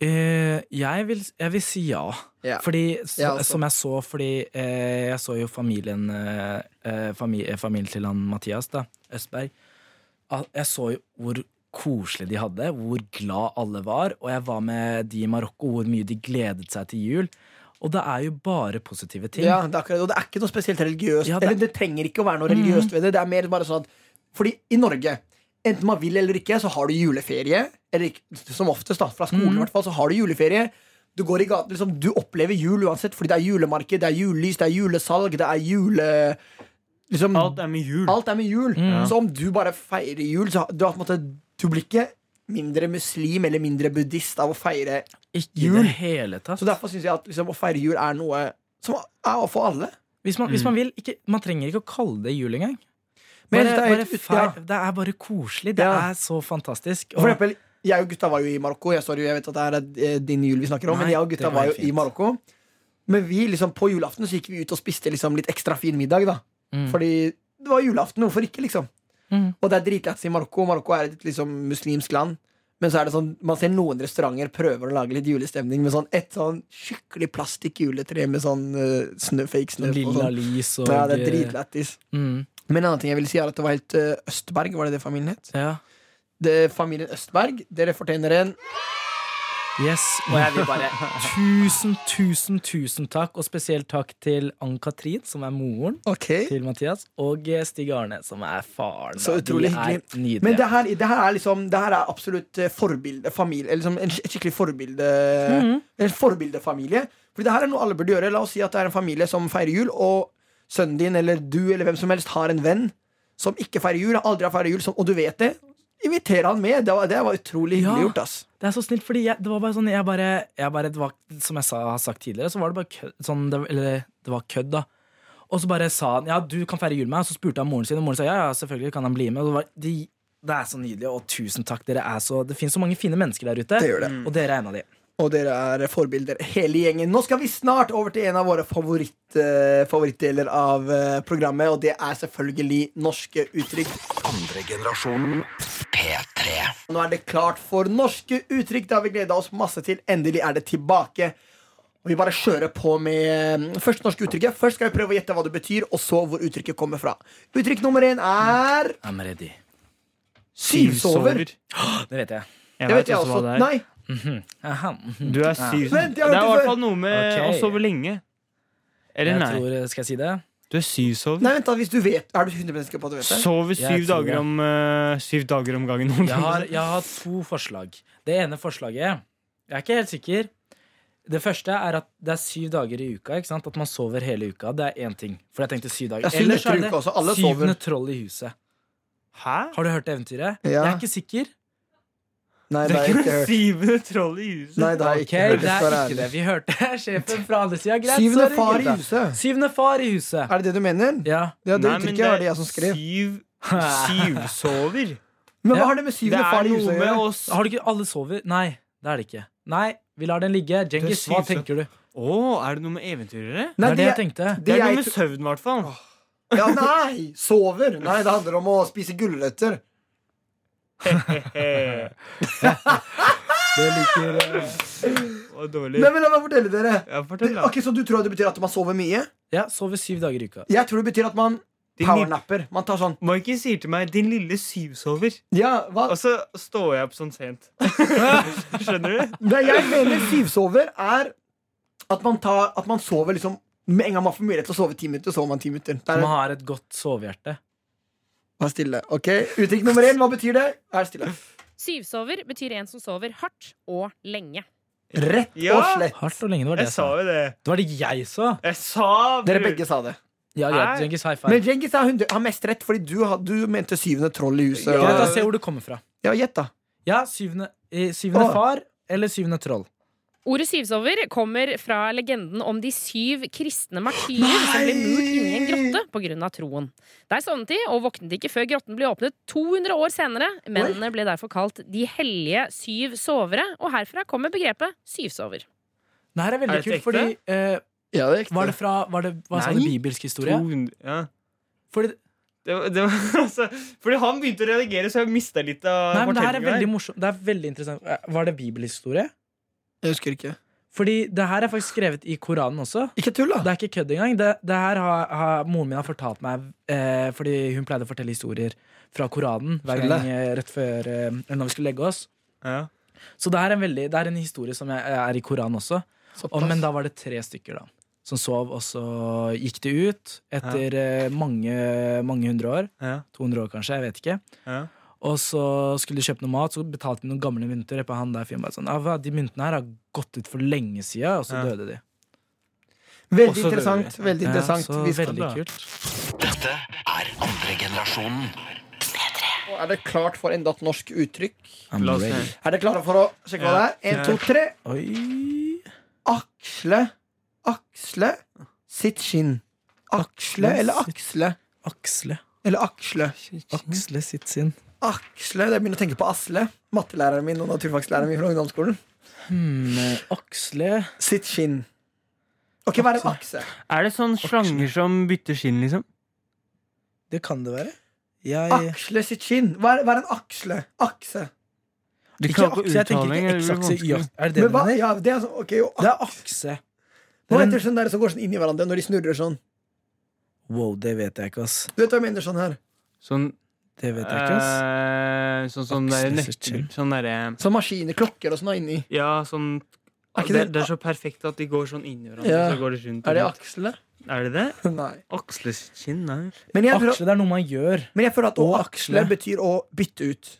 Speaker 4: Eh, jeg, vil, jeg vil si ja.
Speaker 2: Ja.
Speaker 4: Fordi, så,
Speaker 2: Ja, altså. også.
Speaker 4: Som jeg så, fordi eh, jeg så jo familien eh, eh, fami, eh, Familien til han Mathias, da, Østberg. Al- Jeg så jo hvor koselig de hadde, hvor glad alle var. Og jeg var med de i Marokko, hvor mye de gledet seg til jul. Og det er jo bare positive ting.
Speaker 2: Ja, det er akkurat, og det er ikke noe spesielt religiøst.
Speaker 4: Ja, det- Mm.
Speaker 2: det... Eller det trenger ikke å være noe religiøst ved det. Det er mer bare sånn at Fordi i Norge, enten man vil eller ikke, så har du juleferie. Eller ikke- som oftest, da, fra skolen
Speaker 4: Mm.
Speaker 2: i hvert fall, så har du juleferie. Du går i gaten, liksom, du opplever jul uansett, fordi det er julemarked, det er julelys, det er julesalg, det er jule... Liksom,
Speaker 3: Alt er med jul.
Speaker 2: Alt er med jul.
Speaker 4: Mm.
Speaker 2: Så om du bare feirer jul, så du, har på en måte, du blir ikke mindre muslim eller mindre buddhist av å feire.
Speaker 4: Ikke i
Speaker 2: Jul.
Speaker 4: det hele tatt.
Speaker 2: Så derfor syns jeg at liksom, å feire jul er noe som er for alle.
Speaker 4: Hvis man, hvis man vil, ikke, man trenger ikke å kalle det jul engang.
Speaker 2: Men
Speaker 4: Bare,
Speaker 2: det er
Speaker 4: bare
Speaker 2: helt ut-
Speaker 4: feir,
Speaker 2: ja.
Speaker 4: det er bare koselig. Det
Speaker 2: Ja.
Speaker 4: er så fantastisk.
Speaker 2: For eksempel, jeg og gutta var jo i Marokko. Jeg, sorry, jeg vet at det er eh, din jul vi snakker om,
Speaker 4: Nei,
Speaker 2: men jeg og
Speaker 4: det
Speaker 2: gutta
Speaker 4: går
Speaker 2: var jo
Speaker 4: helt fint.
Speaker 2: i Marokko. Men vi liksom på julaften så gikk vi ut og spiste liksom litt ekstra fin middag, da.
Speaker 4: Mm.
Speaker 2: Fordi det var julaften, hvorfor ikke, liksom?
Speaker 4: Mm.
Speaker 2: Og det er dritlættis i Marokko. Marokko er et liksom muslimsk land. Men så er det sånn, man ser noen restauranter prøver å lage litt julestemning med sånn et sånn skikkelig plastikk juletre med sånn eh, snø, fake snø på.
Speaker 4: Lilla
Speaker 2: Sånn.
Speaker 4: lys og
Speaker 2: Ja, det er dritlættis.
Speaker 4: Mm,
Speaker 2: Men en annen ting jeg ville si, er at det var helt eh, Østberg, var det det familien het?
Speaker 4: ja.
Speaker 2: Det, familien Østberg, dere fortjener en
Speaker 4: Yes. Og jeg vil bare Tusen, tusen, tusen takk, og spesielt takk til Ann-Katrin, som er moren
Speaker 2: Ok
Speaker 4: til Mathias, og Stig Arne, som er faren.
Speaker 2: Så
Speaker 4: da.
Speaker 2: utrolig
Speaker 4: De er
Speaker 2: hyggelig.
Speaker 4: Nydelige.
Speaker 2: Men det her, det her er liksom Det her er absolutt eh, forbilde familie, eller liksom en, skik- skikkelig forbilde En forbildefamilie. Fordi det her er noe alle burde gjøre. La oss si at det er en familie som feirer jul, og sønnen din eller du eller hvem som helst har en venn som ikke feirer jul, aldri har feiret jul, som, og du vet det. Inviter han med. Det var, det var utrolig hyggelig
Speaker 4: Ja.
Speaker 2: gjort. ass
Speaker 4: Det er så snilt, fordi jeg, det var bare sånn jeg bare, jeg bare, det var, Som jeg sa, har sagt tidligere, så var det bare kødd. Sånn, det, eller det var kødd, da. Og så bare sa han ja, du kan feire jul med meg. Og så spurte han moren sin, og moren sa ja, ja, selvfølgelig kan han bli med. Og det, var, de, det er så nydelig, og tusen takk. Dere er så, det finnes så mange fine mennesker der ute,
Speaker 2: Det gjør det.
Speaker 4: og dere er en av de.
Speaker 2: Og dere er forbilder, hele gjengen. Nå skal vi snart over til en av våre favoritt, eh, favorittdeler av eh, programmet, og det er selvfølgelig norske uttrykk.
Speaker 1: Andre generasjonen P3.
Speaker 2: Nå er det klart for norske uttrykk. Det har vi gleda oss masse til. Endelig er det tilbake. Og Vi bare kjører på med eh, først norske uttrykket. Først skal vi prøve å gjette hva det betyr, og så hvor uttrykket kommer fra. Uttrykk nummer én er
Speaker 4: I'm ready.
Speaker 2: syvsover.
Speaker 4: Det vet jeg.
Speaker 3: Jeg
Speaker 2: Det
Speaker 3: vet
Speaker 2: vet jeg
Speaker 3: også hva
Speaker 2: også.
Speaker 3: det er.
Speaker 2: Nei,
Speaker 4: Aha.
Speaker 3: Du er syv.
Speaker 2: Vent,
Speaker 3: Det
Speaker 2: jeg har
Speaker 3: er
Speaker 2: hørt
Speaker 3: i
Speaker 2: det
Speaker 3: hvert
Speaker 2: før.
Speaker 3: fall noe med
Speaker 4: Ok.
Speaker 3: å sove lenge.
Speaker 4: Jeg
Speaker 3: Eller nei.
Speaker 4: tror, eh, skal jeg si det?
Speaker 3: Du er syvsover.
Speaker 2: nei vent da, hvis du vet Er du 100 sikker på at du vet det?
Speaker 3: Sover
Speaker 4: Jeg
Speaker 3: syv
Speaker 4: tror det.
Speaker 3: dager, om, eh, syv dager om gangen.
Speaker 4: Jeg har, jeg har to forslag. Det ene forslaget Jeg er ikke helt sikker. Det første er at det er syv dager i uka. ikke sant? At man sover hele uka. Det er én ting. For jeg tenkte syv dager.
Speaker 2: Ja, syv
Speaker 4: Ellers
Speaker 2: netter i
Speaker 4: er det
Speaker 2: uka også. Alle sover.
Speaker 4: syvende troll i huset.
Speaker 3: Hæ?
Speaker 4: Har du hørt det eventyret?
Speaker 2: Ja.
Speaker 4: Jeg er ikke sikker.
Speaker 2: Nei,
Speaker 3: Det er ikke det syvende trollet i huset.
Speaker 2: Nei, det har jeg
Speaker 4: Ok,
Speaker 2: ikke hørt.
Speaker 4: det
Speaker 2: Jeg
Speaker 4: er
Speaker 2: skal være
Speaker 4: ikke det.
Speaker 2: ærlig.
Speaker 4: Vi hørte sjefen fra andre sida. Greit,
Speaker 2: Syvende
Speaker 4: sorry,
Speaker 2: far i
Speaker 4: gutta.
Speaker 2: huset.
Speaker 4: Syvende far i huset.
Speaker 2: Er det det du mener?
Speaker 4: Ja.
Speaker 2: Ja, det
Speaker 3: Nei, men
Speaker 2: uttrykket var det jeg som skrev.
Speaker 3: Syv, syvsover.
Speaker 2: Men
Speaker 4: Ja.
Speaker 2: hva har det med
Speaker 3: Det
Speaker 2: syvende far
Speaker 3: er
Speaker 2: i
Speaker 3: noe
Speaker 2: huset å
Speaker 3: med
Speaker 2: gjøre?
Speaker 3: oss Å,
Speaker 4: Har du ikke Alle sover? Nei, det er det ikke. Nei, vi lar den ligge. Djengis,
Speaker 3: syv,
Speaker 4: hva
Speaker 3: så-
Speaker 4: tenker du?
Speaker 3: er det noe med eventyrere?
Speaker 4: Det
Speaker 2: Nei,
Speaker 4: er det jeg tenkte.
Speaker 3: Det er noe
Speaker 2: jeg
Speaker 3: med søvn, i hvert fall.
Speaker 2: Ja, nei! Sover. Nei, det handler om å spise gulrøtter.
Speaker 3: Eh,
Speaker 4: Det liker eh,
Speaker 3: og dårlig.
Speaker 2: Nei, men la meg fortelle dere.
Speaker 3: Ja,
Speaker 2: Det,
Speaker 3: fortell, da.
Speaker 2: ok, Så du tror det betyr at man sover mye?
Speaker 4: Ja, sover syv dager i uka.
Speaker 2: Jeg tror det betyr at man
Speaker 3: Din
Speaker 2: powernapper. Man tar sånn
Speaker 3: Mikey sier til meg 'din lille syvsover',
Speaker 2: Ja, hva?
Speaker 3: og så står jeg opp sånn sent. Skjønner du?
Speaker 2: Nei, jeg mener syvsover er at man, tar, at man sover liksom Med en gang man får mulighet til å sove ti minutter, sover man ti minutter. Det
Speaker 4: Som
Speaker 2: er,
Speaker 4: har et godt sovehjerte.
Speaker 2: vær stille. Ok, Uttrykk nummer én, hva betyr det? Vær stille.
Speaker 6: Syvsover betyr en som sover hardt og lenge.
Speaker 2: Rett og
Speaker 3: Ja.
Speaker 2: slett.
Speaker 4: Hardt og lenge, det var det
Speaker 3: Jeg
Speaker 4: jeg
Speaker 3: sa
Speaker 4: sa.
Speaker 3: jo det.
Speaker 4: Det var det jeg sa!
Speaker 3: Jeg sa
Speaker 2: Dere
Speaker 3: bror.
Speaker 2: begge sa det.
Speaker 4: Ja,
Speaker 3: greit,
Speaker 4: greit,
Speaker 3: Djengis,
Speaker 4: high
Speaker 2: Men
Speaker 4: five.
Speaker 2: Djengis har hundre- har mest rett, fordi du, har- du mente syvende troll i huset.
Speaker 4: Greit, da, se
Speaker 2: og-
Speaker 4: hvor du kommer fra.
Speaker 2: Ja, Gjett, da.
Speaker 4: Ja, syvende, eh, syvende
Speaker 2: Åh.
Speaker 4: far eller syvende troll.
Speaker 6: Ordet syvsover kommer fra legenden om de syv kristne martyrer som ble murt inni en grotte pga. troen. Der sovnet de og våknet ikke før grotten ble åpnet 200 år senere. Mennene ble derfor kalt De hellige syv sovere, og herfra kommer begrepet syvsover.
Speaker 4: Det her er veldig
Speaker 3: Er dette
Speaker 4: kult, fordi eh,
Speaker 2: Ja, det er ekte.
Speaker 4: Var det fra var det, Hva sa
Speaker 3: Nei.
Speaker 4: du? Bibelsk historie?
Speaker 3: 200 ja.
Speaker 4: Fordi,
Speaker 3: det, var- det var, altså, Fordi han begynte å reagere, så jeg mista litt av
Speaker 4: nei, men det her er
Speaker 3: fortellingen her.
Speaker 4: veldig morsomt. Det er veldig interessant. Eh, Var det bibelsk historie?
Speaker 2: Jeg husker ikke.
Speaker 4: Fordi det her er faktisk skrevet i Koranen også.
Speaker 2: Ikke tull,
Speaker 4: Det
Speaker 2: da!
Speaker 4: er ikke kødd engang. Det, det her har, har moren min har fortalt meg eh, fordi hun pleide å fortelle historier fra Koranen hver
Speaker 2: Skjønner.
Speaker 4: gang eh, rett før eh, eller når vi skulle legge oss.
Speaker 3: Ja.
Speaker 4: Så det her er en, veldig, det er en historie som er, er i Koranen også. Og, men da var det tre stykker da som sov, og så gikk de ut etter eh, mange, mange hundre år.
Speaker 3: Ja.
Speaker 4: 200 år, kanskje. jeg vet ikke
Speaker 3: Ja.
Speaker 4: Og så skulle de kjøpe noe mat, så betalte de noen gamle mynter. Og han der fyren bare sånn, «Ja, hva, De myntene her har gått ut for lenge siden, og så
Speaker 3: Ja.
Speaker 4: døde de.
Speaker 2: Veldig
Speaker 3: Også
Speaker 2: interessant.
Speaker 3: døde vi.
Speaker 2: veldig interessant.
Speaker 4: Ja, så
Speaker 2: Vi skal-
Speaker 4: veldig
Speaker 3: da.
Speaker 4: kult.
Speaker 1: Dette er andre generasjonen.
Speaker 2: Og Er det klart for enda et norsk uttrykk?
Speaker 3: La oss se.
Speaker 2: Er dere klare for å sjekke hva det er?
Speaker 3: Ja.
Speaker 2: En, to, tre.
Speaker 4: Oi.
Speaker 2: Aksle. Aksle sitt skinn. Aksle eller aksle.
Speaker 4: Aksle.
Speaker 2: Eller aksle.
Speaker 4: Aksle sitt sinn.
Speaker 2: Aksle, Jeg begynner å tenke på Asle. Mattelæreren min og naturfagslæreren min fra ungdomsskolen.
Speaker 4: Hmm, aksle
Speaker 2: Sitt skinn. Ok, hva er en akse?
Speaker 3: Er det sånn slanger som bytter skinn, liksom?
Speaker 4: Det kan det være. Jeg
Speaker 2: Aksle sitt skinn. Hva er, hva er en aksle? Akse.
Speaker 3: Du
Speaker 4: Ikke
Speaker 3: klarer på
Speaker 4: akse, jeg tenker
Speaker 3: uttaling,
Speaker 4: ikke
Speaker 3: eller
Speaker 4: eksakse.
Speaker 3: det blir vanskelig.
Speaker 4: Er det det
Speaker 2: Men
Speaker 4: du
Speaker 2: hva?
Speaker 4: mener?
Speaker 2: Ja, det er sånn, ok, jo,
Speaker 4: Det
Speaker 2: ak
Speaker 4: er akse.
Speaker 2: Hva
Speaker 4: men-
Speaker 2: heter sånn der som går sånn inn i hverandre når de snurrer sånn?
Speaker 4: Wow, det vet jeg ikke, ass.
Speaker 2: Du vet hva jeg mener sånn her?
Speaker 3: Sånn
Speaker 4: Det vet jeg ikke, ass.
Speaker 3: eh, Sånn sånn der
Speaker 4: Aksle sitt
Speaker 3: nøkkel
Speaker 4: skinn.
Speaker 3: Sånn derre
Speaker 2: Sånn maskiner, klokker og sånn er inni.
Speaker 3: Ja, sånn
Speaker 2: Er ikke
Speaker 3: det,
Speaker 2: det-
Speaker 3: det er så perfekt at de går sånn inn i hverandre.
Speaker 2: Ja.
Speaker 3: Så går det rundt og
Speaker 2: Er det
Speaker 3: rundt.
Speaker 2: aksle?
Speaker 3: er det det?
Speaker 2: Nei.
Speaker 3: Aksle sitt skinn? Nei.
Speaker 2: Men jeg, føler,
Speaker 4: Aksle, det er noe man gjør.
Speaker 2: men jeg føler at å
Speaker 4: Og
Speaker 2: aksle
Speaker 4: aksle.
Speaker 2: betyr å bytte ut.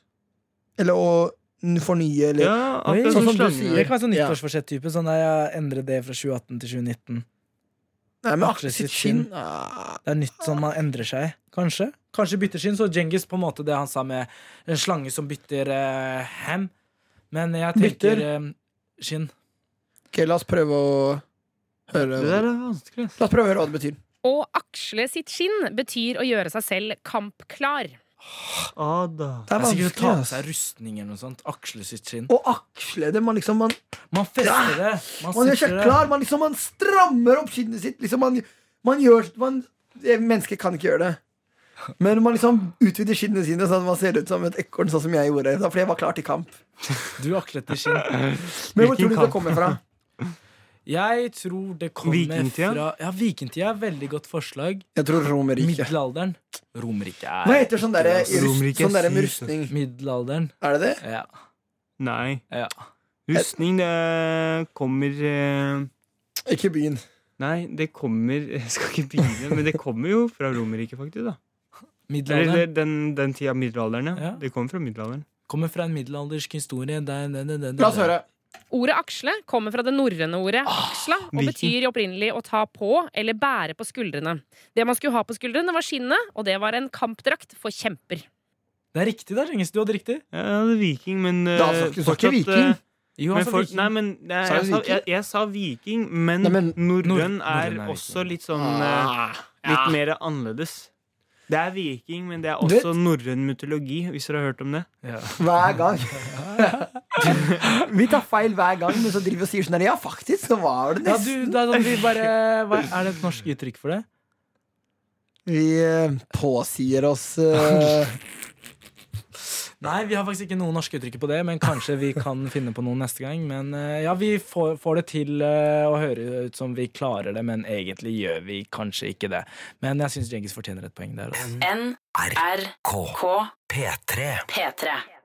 Speaker 2: Eller å n- fornye, eller
Speaker 3: Ja,
Speaker 4: Oi,
Speaker 3: akkurat
Speaker 4: sånn
Speaker 3: som
Speaker 2: som du
Speaker 3: slanger.
Speaker 4: Det kan være sånn
Speaker 2: Ja.
Speaker 4: nyttårsforsett-type. Sånn der jeg endrer det fra 2018 til 2019.
Speaker 2: Nei, men
Speaker 4: aksle
Speaker 2: aksle sitt
Speaker 4: sitt
Speaker 2: skinn
Speaker 4: skinn.
Speaker 2: ah.
Speaker 4: Det er nytt, sånn man endrer seg. Kanskje. Kanskje bytter skinn. Så Djengis, på en måte det han sa med en slange som bytter eh, hem. Men jeg tenker eh, skinn.
Speaker 2: Ok, la oss prøve å høre
Speaker 3: Det
Speaker 2: hva
Speaker 3: der
Speaker 2: det-
Speaker 3: er vanskelig. ass.
Speaker 2: La oss prøve å høre hva det betyr.
Speaker 6: Å aksle sitt skinn betyr å gjøre seg selv kampklar.
Speaker 3: Ah, da.
Speaker 2: Det
Speaker 4: Det
Speaker 2: er
Speaker 4: er sikkert å ta på
Speaker 2: vanskelig.
Speaker 4: seg rustning eller noe sånt. Aksle sitt skinn.
Speaker 2: ass. Å aksle det, man liksom Man,
Speaker 4: Man fester det.
Speaker 2: man
Speaker 4: Man
Speaker 2: gjør seg
Speaker 4: sitter det.
Speaker 2: klar, man liksom Man strammer opp skinnet sitt. Liksom man, man gjør man, eh, Mennesker kan ikke gjøre det. Men man liksom utvider skinnene sine sånn at man ser ut som et ekorn, sånn som jeg gjorde. da, Fordi jeg var klar til kamp.
Speaker 4: Du akslet i skinn.
Speaker 2: Men
Speaker 3: Hvilken
Speaker 2: hvor tror du det
Speaker 3: kamp?
Speaker 2: kommer fra?
Speaker 4: Jeg tror det kommer
Speaker 3: Vikingtida?
Speaker 4: fra Ja, vikingtida er et veldig godt forslag.
Speaker 2: Jeg tror Romerriket.
Speaker 4: Middelalderen. Romerriket
Speaker 2: Hva
Speaker 4: er
Speaker 2: heter sånn derre
Speaker 4: Nei,
Speaker 3: Romerriket
Speaker 2: sånn
Speaker 3: er
Speaker 2: derre med
Speaker 3: sykt.
Speaker 2: rustning?
Speaker 4: Middelalderen.
Speaker 2: Er det det?
Speaker 4: Ja.
Speaker 3: Nei.
Speaker 4: ja.
Speaker 3: Rustning, det kommer eh,
Speaker 2: Ikke byen.
Speaker 3: Nei, det kommer Jeg skal ikke begynne, men det kommer jo fra Romerriket, faktisk. da Eller
Speaker 4: Middelalderen
Speaker 3: det- den, den tida middelalderen, ja.
Speaker 4: Ja.
Speaker 3: Det kommer fra middelalderen.
Speaker 4: kommer fra en middelaldersk historie. Der, der, der, der,
Speaker 2: La oss høre.
Speaker 6: Ordet aksle kommer fra det norrøne ordet aksla og
Speaker 3: viking.
Speaker 6: betyr opprinnelig å ta på eller bære på skuldrene. Det man skulle ha på skuldrene, var skinnet, og det var en kampdrakt for kjemper.
Speaker 4: Det er riktig, da, Ringnes. Du hadde riktig.
Speaker 3: Ja, Jeg hadde viking, men eh,
Speaker 2: Da sa- du sa ikke
Speaker 3: fortsatt,
Speaker 2: viking.
Speaker 3: eh,
Speaker 4: Jo,
Speaker 3: Men
Speaker 4: altså,
Speaker 3: folk-
Speaker 4: viking.
Speaker 3: nei, men jeg,
Speaker 2: Sa
Speaker 3: jeg,
Speaker 2: jeg
Speaker 3: sa,
Speaker 2: viking?
Speaker 3: jeg, jeg sa viking, men,
Speaker 2: Nei, men-
Speaker 3: norrøn
Speaker 4: Nord-
Speaker 3: er,
Speaker 4: norrøn er
Speaker 3: også
Speaker 4: viking.
Speaker 3: litt sånn
Speaker 2: Mm. Ah,
Speaker 3: eh, Litt mer annerledes. Det er viking, men det er
Speaker 2: Du vet-
Speaker 3: også norrøn mytologi, hvis dere har hørt om det.
Speaker 4: ja.
Speaker 2: Hver gang. vi tar feil hver gang, men så driver vi og sier sånn her, Ja, faktisk, så var det
Speaker 4: ja, du,
Speaker 2: nesten.
Speaker 4: det er sånn vi bare hva, Er det et norsk uttrykk for det?
Speaker 2: Vi eh, påsier oss eh,
Speaker 4: Nei, vi har faktisk ikke noe norske uttrykk på det, men kanskje vi kan finne på noen neste gang. Men eh, ja, vi får, får det til eh, å høre ut som vi klarer det, men egentlig gjør vi kanskje ikke det. Men jeg syns Djengis fortjener et poeng der. Altså.
Speaker 5: NRK
Speaker 1: K. P3.
Speaker 5: P3.